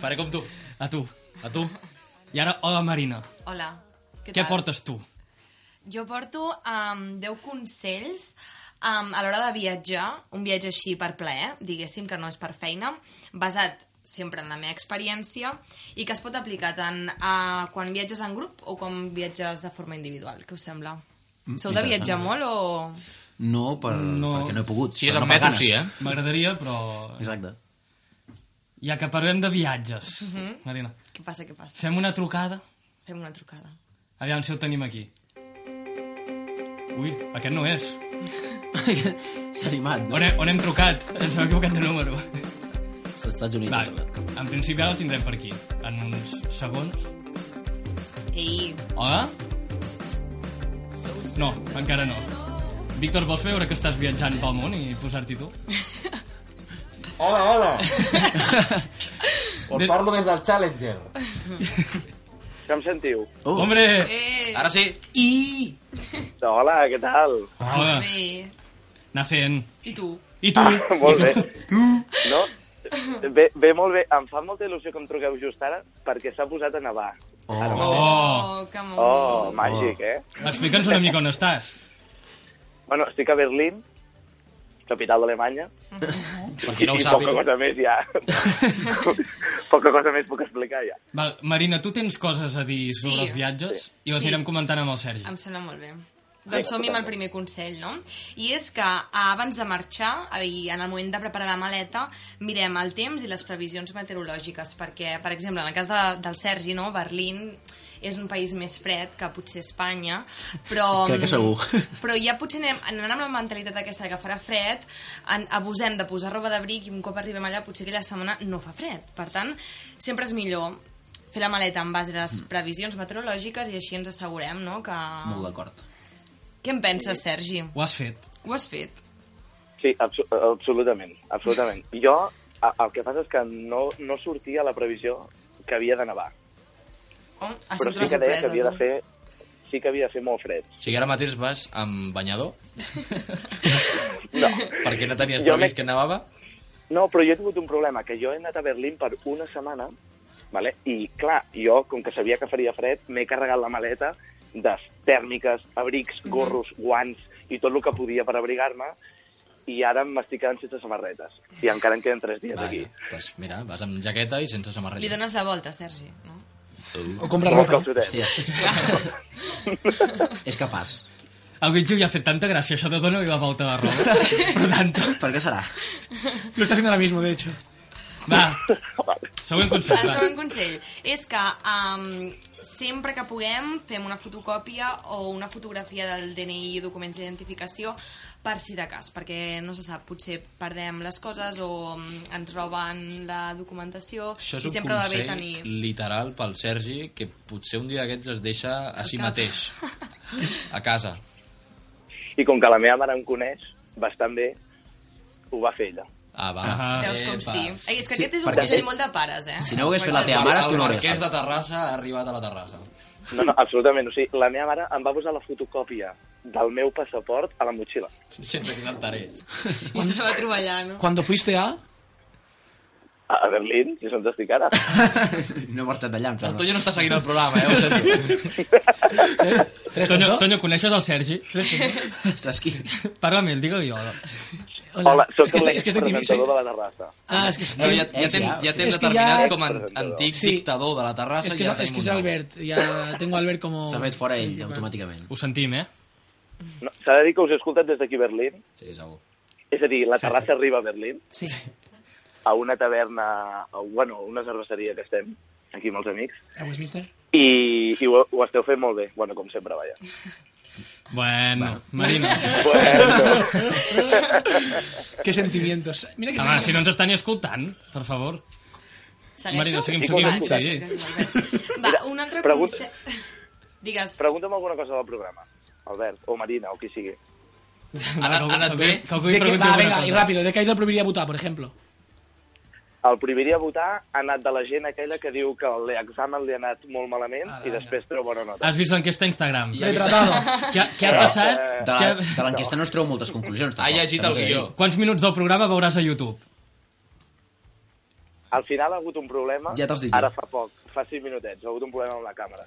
[SPEAKER 6] Faré com tu.
[SPEAKER 1] A tu.
[SPEAKER 6] A tu.
[SPEAKER 1] I ara, hola, Marina.
[SPEAKER 11] Hola, què,
[SPEAKER 1] Què
[SPEAKER 11] tal?
[SPEAKER 1] portes tu?
[SPEAKER 11] Jo porto um, 10 consells um, a l'hora de viatjar, un viatge així per plaer, diguéssim que no és per feina, basat sempre en la meva experiència i que es pot aplicar tant a quan viatges en grup o quan viatges de forma individual. Què us sembla?
[SPEAKER 8] Mm,
[SPEAKER 11] Sou de viatjar
[SPEAKER 8] interessant.
[SPEAKER 11] molt o...?
[SPEAKER 8] No, per, no, perquè no he pogut.
[SPEAKER 6] Si és
[SPEAKER 8] per
[SPEAKER 6] en
[SPEAKER 8] no
[SPEAKER 6] metro,
[SPEAKER 8] paganes.
[SPEAKER 6] sí, eh?
[SPEAKER 1] M'agradaria, però...
[SPEAKER 8] Exacte.
[SPEAKER 1] Ja que parlem de viatges, Marina,
[SPEAKER 11] Mhm. Què passa, què passa?
[SPEAKER 1] fem una trucada.
[SPEAKER 11] Fem una trucada.
[SPEAKER 1] Aviam si el tenim aquí. Ui, aquest no és.
[SPEAKER 8] S'ha animat, no?
[SPEAKER 1] On, he, on hem trucat? Ens hem equivocat de número.
[SPEAKER 8] Als Estats Units.
[SPEAKER 1] Va,
[SPEAKER 8] ha trucat.
[SPEAKER 1] en principi ara el tindrem per aquí, en uns segons.
[SPEAKER 11] Ei,
[SPEAKER 1] Hola? No, encara no. Víctor, vols veure que estàs viatjant pel món i posar-t'hi tu?
[SPEAKER 12] Hola, hola.
[SPEAKER 1] De-
[SPEAKER 12] Us parlo des del Challenger. Uh. Que em sentiu?
[SPEAKER 8] Oh,
[SPEAKER 1] Hombre!
[SPEAKER 11] eh,
[SPEAKER 6] Ara sí.
[SPEAKER 5] I...
[SPEAKER 12] Hola, què tal?
[SPEAKER 1] Hola,
[SPEAKER 11] bé.
[SPEAKER 1] anar fent.
[SPEAKER 11] I tu?
[SPEAKER 1] I tu?
[SPEAKER 12] Molt
[SPEAKER 1] I
[SPEAKER 12] bé.
[SPEAKER 1] tu?
[SPEAKER 12] No?
[SPEAKER 8] Ve, ve molt bé. Em fa molta il·lusió que em truqueu just ara perquè s'ha posat a nevar. Ara mateix.
[SPEAKER 1] Oh,
[SPEAKER 10] que
[SPEAKER 8] Oh, màgic, eh?
[SPEAKER 1] Explica'ns una mica on estàs.
[SPEAKER 8] Bueno, estic a Berlín, capital d'Alemanya.
[SPEAKER 1] Per qui no ho
[SPEAKER 8] I
[SPEAKER 1] sàpiga.
[SPEAKER 8] Poca cosa més ja. poca cosa més puc explicar ja.
[SPEAKER 1] Val, Marina, tu tens coses a dir sobre els viatges? I les
[SPEAKER 10] Sí.
[SPEAKER 1] anirem comentant amb el Sergi.
[SPEAKER 10] Em sembla molt bé.
[SPEAKER 1] Vinga,
[SPEAKER 8] Ah,
[SPEAKER 10] Doncs som-hi amb el primer consell, no? I és que ah, abans de marxar i en el moment de preparar la maleta mirem el temps i les previsions meteorològiques perquè, per exemple, en el cas de, del Sergi, no? Berlín és un país més fred que potser Espanya, però...
[SPEAKER 13] Crec que segur.
[SPEAKER 10] Però ja potser anem, anant amb la mentalitat aquesta que farà fred, en, abusem de posar roba d'abric i un cop arribem allà potser aquella setmana no fa fred. Per tant, sempre és millor fer la maleta en base a les previsions meteorològiques i així ens assegurem no, que...
[SPEAKER 13] Molt d'acord.
[SPEAKER 10] Què en penses, Sergi?
[SPEAKER 1] Ho has fet.
[SPEAKER 10] Ho has fet?
[SPEAKER 8] Sí, abso absolutament, absolutament. Jo, a- el que passa és que no, no sortia la previsió que havia de nevar.
[SPEAKER 10] Oh, ha
[SPEAKER 8] però
[SPEAKER 10] sigut
[SPEAKER 8] sí
[SPEAKER 10] una
[SPEAKER 8] que deia que
[SPEAKER 10] sorpresa,
[SPEAKER 8] havia de
[SPEAKER 10] tu.
[SPEAKER 8] fer sí que havia de fer molt fred.
[SPEAKER 6] O sigui, ara mateix vas amb banyador?
[SPEAKER 8] No.
[SPEAKER 6] Perquè no tenies
[SPEAKER 8] Jo
[SPEAKER 6] previst que nevava?
[SPEAKER 8] No, però jo he tingut un problema, que jo he anat a Berlín per una setmana, vale? i clar, jo, com que sabia que faria fred, m'he carregat la maleta de tèrmiques, abrics, gorros, guants i tot el que podia per abrigar-me, i ara m'estic quedant sense samarretes. I encara en queden tres dies
[SPEAKER 6] Vaja,
[SPEAKER 8] aquí.
[SPEAKER 6] Pues mira, vas amb jaqueta i sense
[SPEAKER 10] Li
[SPEAKER 6] samarreta.
[SPEAKER 10] dones la volta, Sergi. No?
[SPEAKER 6] Uh.
[SPEAKER 5] O compra
[SPEAKER 8] Molt
[SPEAKER 5] ropa.
[SPEAKER 8] calçotet.
[SPEAKER 13] És capaç.
[SPEAKER 1] El Bitxo ja ha fet tanta gràcia, això de donar-li la volta a la roba. per tant,
[SPEAKER 13] Per què serà?
[SPEAKER 5] Lo está haciendo ahora mismo, de hecho.
[SPEAKER 1] Va. Següent consell.
[SPEAKER 10] El
[SPEAKER 1] va.
[SPEAKER 10] segon consell és que um, sempre que puguem fem una fotocòpia o una fotografia del DNI i documents d'identificació per si de cas, perquè no se sap, potser perdem les coses o mm, ens roben la documentació
[SPEAKER 6] Això és
[SPEAKER 10] i
[SPEAKER 6] un
[SPEAKER 10] sempre va bé
[SPEAKER 6] consell
[SPEAKER 10] tenir...
[SPEAKER 6] literal pel Sergi que potser un dia d'aquests es deixa a si
[SPEAKER 10] cap.
[SPEAKER 6] mateix, a casa.
[SPEAKER 8] I com que la meva mare em coneix bastant bé, ho va fer ella.
[SPEAKER 6] Ah, va.
[SPEAKER 10] Veus com sí? Ei, és que
[SPEAKER 8] Sí,
[SPEAKER 10] aquest és un
[SPEAKER 8] perquè
[SPEAKER 10] consell
[SPEAKER 8] si-
[SPEAKER 10] molt de pares, eh?
[SPEAKER 13] Si no ho hagués fet la teva mare, tu no hauries
[SPEAKER 6] El marquès
[SPEAKER 13] fet.
[SPEAKER 6] de Terrassa ha arribat a la Terrassa.
[SPEAKER 8] No, no, absolutament. O sigui, la meva mare em va posar la fotocòpia del meu passaport a la motxilla.
[SPEAKER 6] Sense que saltarés.
[SPEAKER 10] I se la va trobar allà, no?
[SPEAKER 5] Cuando fuiste a...
[SPEAKER 8] A Berlín, si se'ns estic ara.
[SPEAKER 13] No he marxat d'allà, em
[SPEAKER 6] El Toño no està seguint el programa, eh? Ho sento.
[SPEAKER 1] Toño, Toño, coneixes el Sergi?
[SPEAKER 13] Saps qui?
[SPEAKER 1] Parla amb ell, digue-li hola.
[SPEAKER 8] Hola, Hola sóc
[SPEAKER 1] És que
[SPEAKER 8] l'expresentador
[SPEAKER 1] estic- és que estic
[SPEAKER 8] presentador de la Terrassa.
[SPEAKER 5] Ah, és que és-
[SPEAKER 6] No, ja, ja
[SPEAKER 5] és-
[SPEAKER 6] t'hem ja t'hem
[SPEAKER 5] és que
[SPEAKER 6] determinat
[SPEAKER 5] ja-
[SPEAKER 6] com a an- antic
[SPEAKER 5] Sí.
[SPEAKER 6] dictador de la Terrassa.
[SPEAKER 5] Es que,
[SPEAKER 6] i
[SPEAKER 5] es,
[SPEAKER 6] ara
[SPEAKER 5] es que
[SPEAKER 6] tenim
[SPEAKER 5] es
[SPEAKER 6] un nom.
[SPEAKER 5] Albert, ya tengo a Albert como...
[SPEAKER 13] S'ha fet fora ell, automàticament.
[SPEAKER 1] Ho sentim, eh?
[SPEAKER 8] No, S'ha de dir que us he escoltat des d'aquí Berlín.
[SPEAKER 6] Sí, segur.
[SPEAKER 8] És a dir, la
[SPEAKER 1] Sí,
[SPEAKER 8] Terrassa arriba a Berlín.
[SPEAKER 5] Sí.
[SPEAKER 8] A una taverna, a, bueno, a una cerveseria que estem aquí amb els amics.
[SPEAKER 5] A Westminster?
[SPEAKER 8] I, i ho, ho esteu fent molt bé. Bueno, com sempre, vaja.
[SPEAKER 1] Bueno, Marina.
[SPEAKER 5] Qué sentimientos. Mira que
[SPEAKER 1] Home,
[SPEAKER 5] Ah, sí.
[SPEAKER 1] si no ens estan ni escoltant, per favor. Marina, seguim,
[SPEAKER 8] Sí,
[SPEAKER 1] seguim.
[SPEAKER 8] com
[SPEAKER 1] Sí.
[SPEAKER 10] Va, un altre
[SPEAKER 8] pregun-
[SPEAKER 10] consell... Digues.
[SPEAKER 8] Pregunta'm alguna cosa del programa, Albert, o Marina, o qui sigui.
[SPEAKER 6] Ha anat- ha anat bé?
[SPEAKER 5] De que, va, venga, y rápido. ¿De qué ha ido el prohibiría votar, por ejemplo?
[SPEAKER 8] El prohibiria votar ha anat de la gent aquella que diu que l'examen li ha anat molt malament
[SPEAKER 5] Ah,
[SPEAKER 8] i després treu bona nota.
[SPEAKER 1] Has vist l'enquesta a Instagram.
[SPEAKER 5] Retratado.
[SPEAKER 1] Què, què ha passat?
[SPEAKER 13] De la-
[SPEAKER 1] Què
[SPEAKER 13] de l'enquesta no es treu moltes conclusions.
[SPEAKER 6] Ha llegit el guió.
[SPEAKER 1] Quants minuts del programa veuràs a YouTube?
[SPEAKER 8] Al final ha hagut un problema,
[SPEAKER 1] Ja t'has dit jo.
[SPEAKER 8] ara fa poc, fa 6 minutets, ha hagut un problema amb la càmera.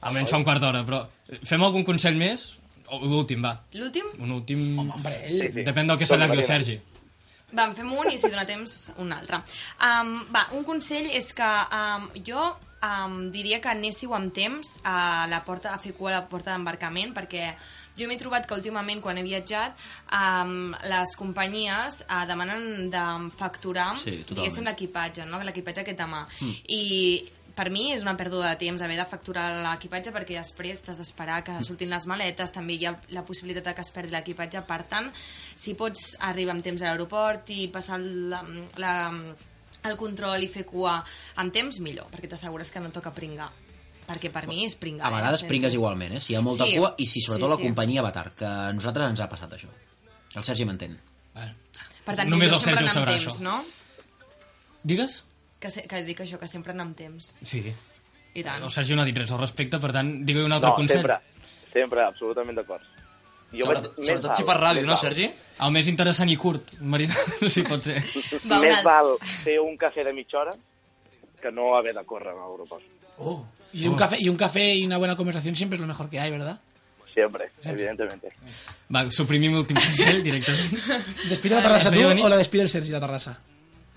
[SPEAKER 1] Almenys fa un quart d'hora, però... Fem algun consell més? O L'últim, va.
[SPEAKER 10] L'últim?
[SPEAKER 1] Un últim... Home,
[SPEAKER 10] ell-
[SPEAKER 1] Depèn del que s'allargui el Sergi.
[SPEAKER 10] Va, en fem un i si dona temps, un altre. Um, va, un consell és que um, jo um, diria que anéssiu amb temps a, la porta, a fer cua a la porta d'embarcament perquè jo m'he trobat que últimament quan he viatjat um, les companyies uh, demanen de facturar
[SPEAKER 13] Sí, totalment.
[SPEAKER 10] diguéssim l'equipatge, no? l'equipatge que et demà.
[SPEAKER 13] Mm.
[SPEAKER 10] I per mi és una pèrdua de temps haver de facturar l'equipatge perquè després t'has d'esperar
[SPEAKER 13] Mm.
[SPEAKER 10] que surtin les maletes, també hi ha la possibilitat de que es perdi l'equipatge, per tant, si pots arribar amb temps a l'aeroport i passar la, la, el control i fer cua amb temps, millor, perquè t'assegures que no toca pringar, perquè per mi és
[SPEAKER 13] A
[SPEAKER 10] pringar.
[SPEAKER 13] vegades pringues igualment, eh? Si hi ha molta
[SPEAKER 10] Eh, Sí.
[SPEAKER 13] cua i si sobretot
[SPEAKER 10] Sí,
[SPEAKER 13] la
[SPEAKER 10] sí.
[SPEAKER 13] companyia va tard, que a nosaltres ens ha passat això. El Sergi m'entén.
[SPEAKER 10] Per tant,
[SPEAKER 13] Només
[SPEAKER 10] millor
[SPEAKER 13] el Sergi ho
[SPEAKER 10] sempre anar amb
[SPEAKER 13] sabrà,
[SPEAKER 10] temps,
[SPEAKER 13] això.
[SPEAKER 10] no?
[SPEAKER 1] Digues?
[SPEAKER 10] Que, se, que dic això, que sempre anar amb temps.
[SPEAKER 1] Sí.
[SPEAKER 10] I tant.
[SPEAKER 1] El Sergi no ha dit res al respecte, per tant, digue-li un altre
[SPEAKER 8] no,
[SPEAKER 1] consell.
[SPEAKER 8] sempre, sempre, absolutament d'acord. Jo
[SPEAKER 6] Sobretot,
[SPEAKER 8] vaig més
[SPEAKER 6] sobretot si
[SPEAKER 8] alt,
[SPEAKER 6] per ràdio,
[SPEAKER 8] més
[SPEAKER 6] no,
[SPEAKER 8] alt.
[SPEAKER 6] Sergi?
[SPEAKER 1] El més interessant i curt, Marina, no si pot ser.
[SPEAKER 4] Va, Més val fer un cafè de mitja hora que no haver de córrer a l'aeroport.
[SPEAKER 5] Y un, café, y un café y una buena conversación siempre es lo mejor que hay, ¿verdad?
[SPEAKER 4] Siempre, evidentemente.
[SPEAKER 1] Va, suprimim l'últim consell directament.
[SPEAKER 5] ¿Despide la Tarrasa tú o la despide el Sergi la Tarrasa?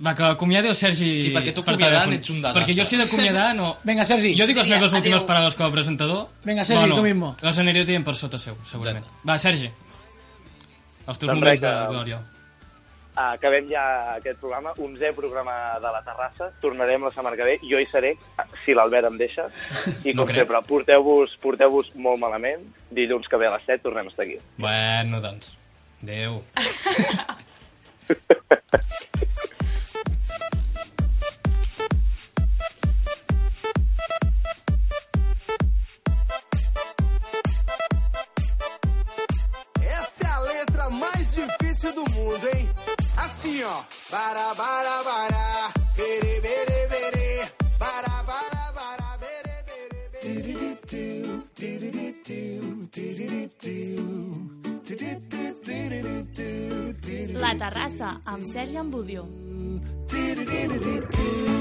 [SPEAKER 1] Va, que acomiadi el Sergi...
[SPEAKER 5] Sí, perquè tu
[SPEAKER 1] per
[SPEAKER 5] acomiadant
[SPEAKER 1] telèfon.
[SPEAKER 5] ets un desastre.
[SPEAKER 1] Perquè jo sé d'acomiadar, no...
[SPEAKER 5] Vinga, Sergi.
[SPEAKER 1] Jo dic les
[SPEAKER 5] Vinga,
[SPEAKER 1] meves últimes
[SPEAKER 5] adéu.
[SPEAKER 1] paraules com a presentador.
[SPEAKER 5] Vinga, Sergi, tu mismo.
[SPEAKER 1] Les aniré dient per sota seu, segurament. Va, Sergi. Els teus
[SPEAKER 4] Doncs
[SPEAKER 1] moments
[SPEAKER 4] res,
[SPEAKER 1] de
[SPEAKER 4] que-
[SPEAKER 1] glòria.
[SPEAKER 4] Acabem ja aquest programa, 11è programa de la Terrassa. Tornarem la setmana que ve. Jo hi seré, si l'Albert em deixa. I
[SPEAKER 1] No
[SPEAKER 4] com no
[SPEAKER 1] crec.
[SPEAKER 4] sempre, porteu-vos porteu molt malament. Dilluns que ve a les 7 tornem a estar aquí.
[SPEAKER 1] Bueno, doncs. Adéu.
[SPEAKER 12] Essa é a letra mais difícil do mundo, hein? Assim, ó. Bara, bara, bara. Bere, bere, bere. Bara, bara, bara. Bere, bere, bere. Tiriditiu, tiriditiu, tiriditiu, tiriditiu, tiriditiu,
[SPEAKER 2] La Terrassa, amb Sergi Ambudio.
[SPEAKER 12] tiriditiu.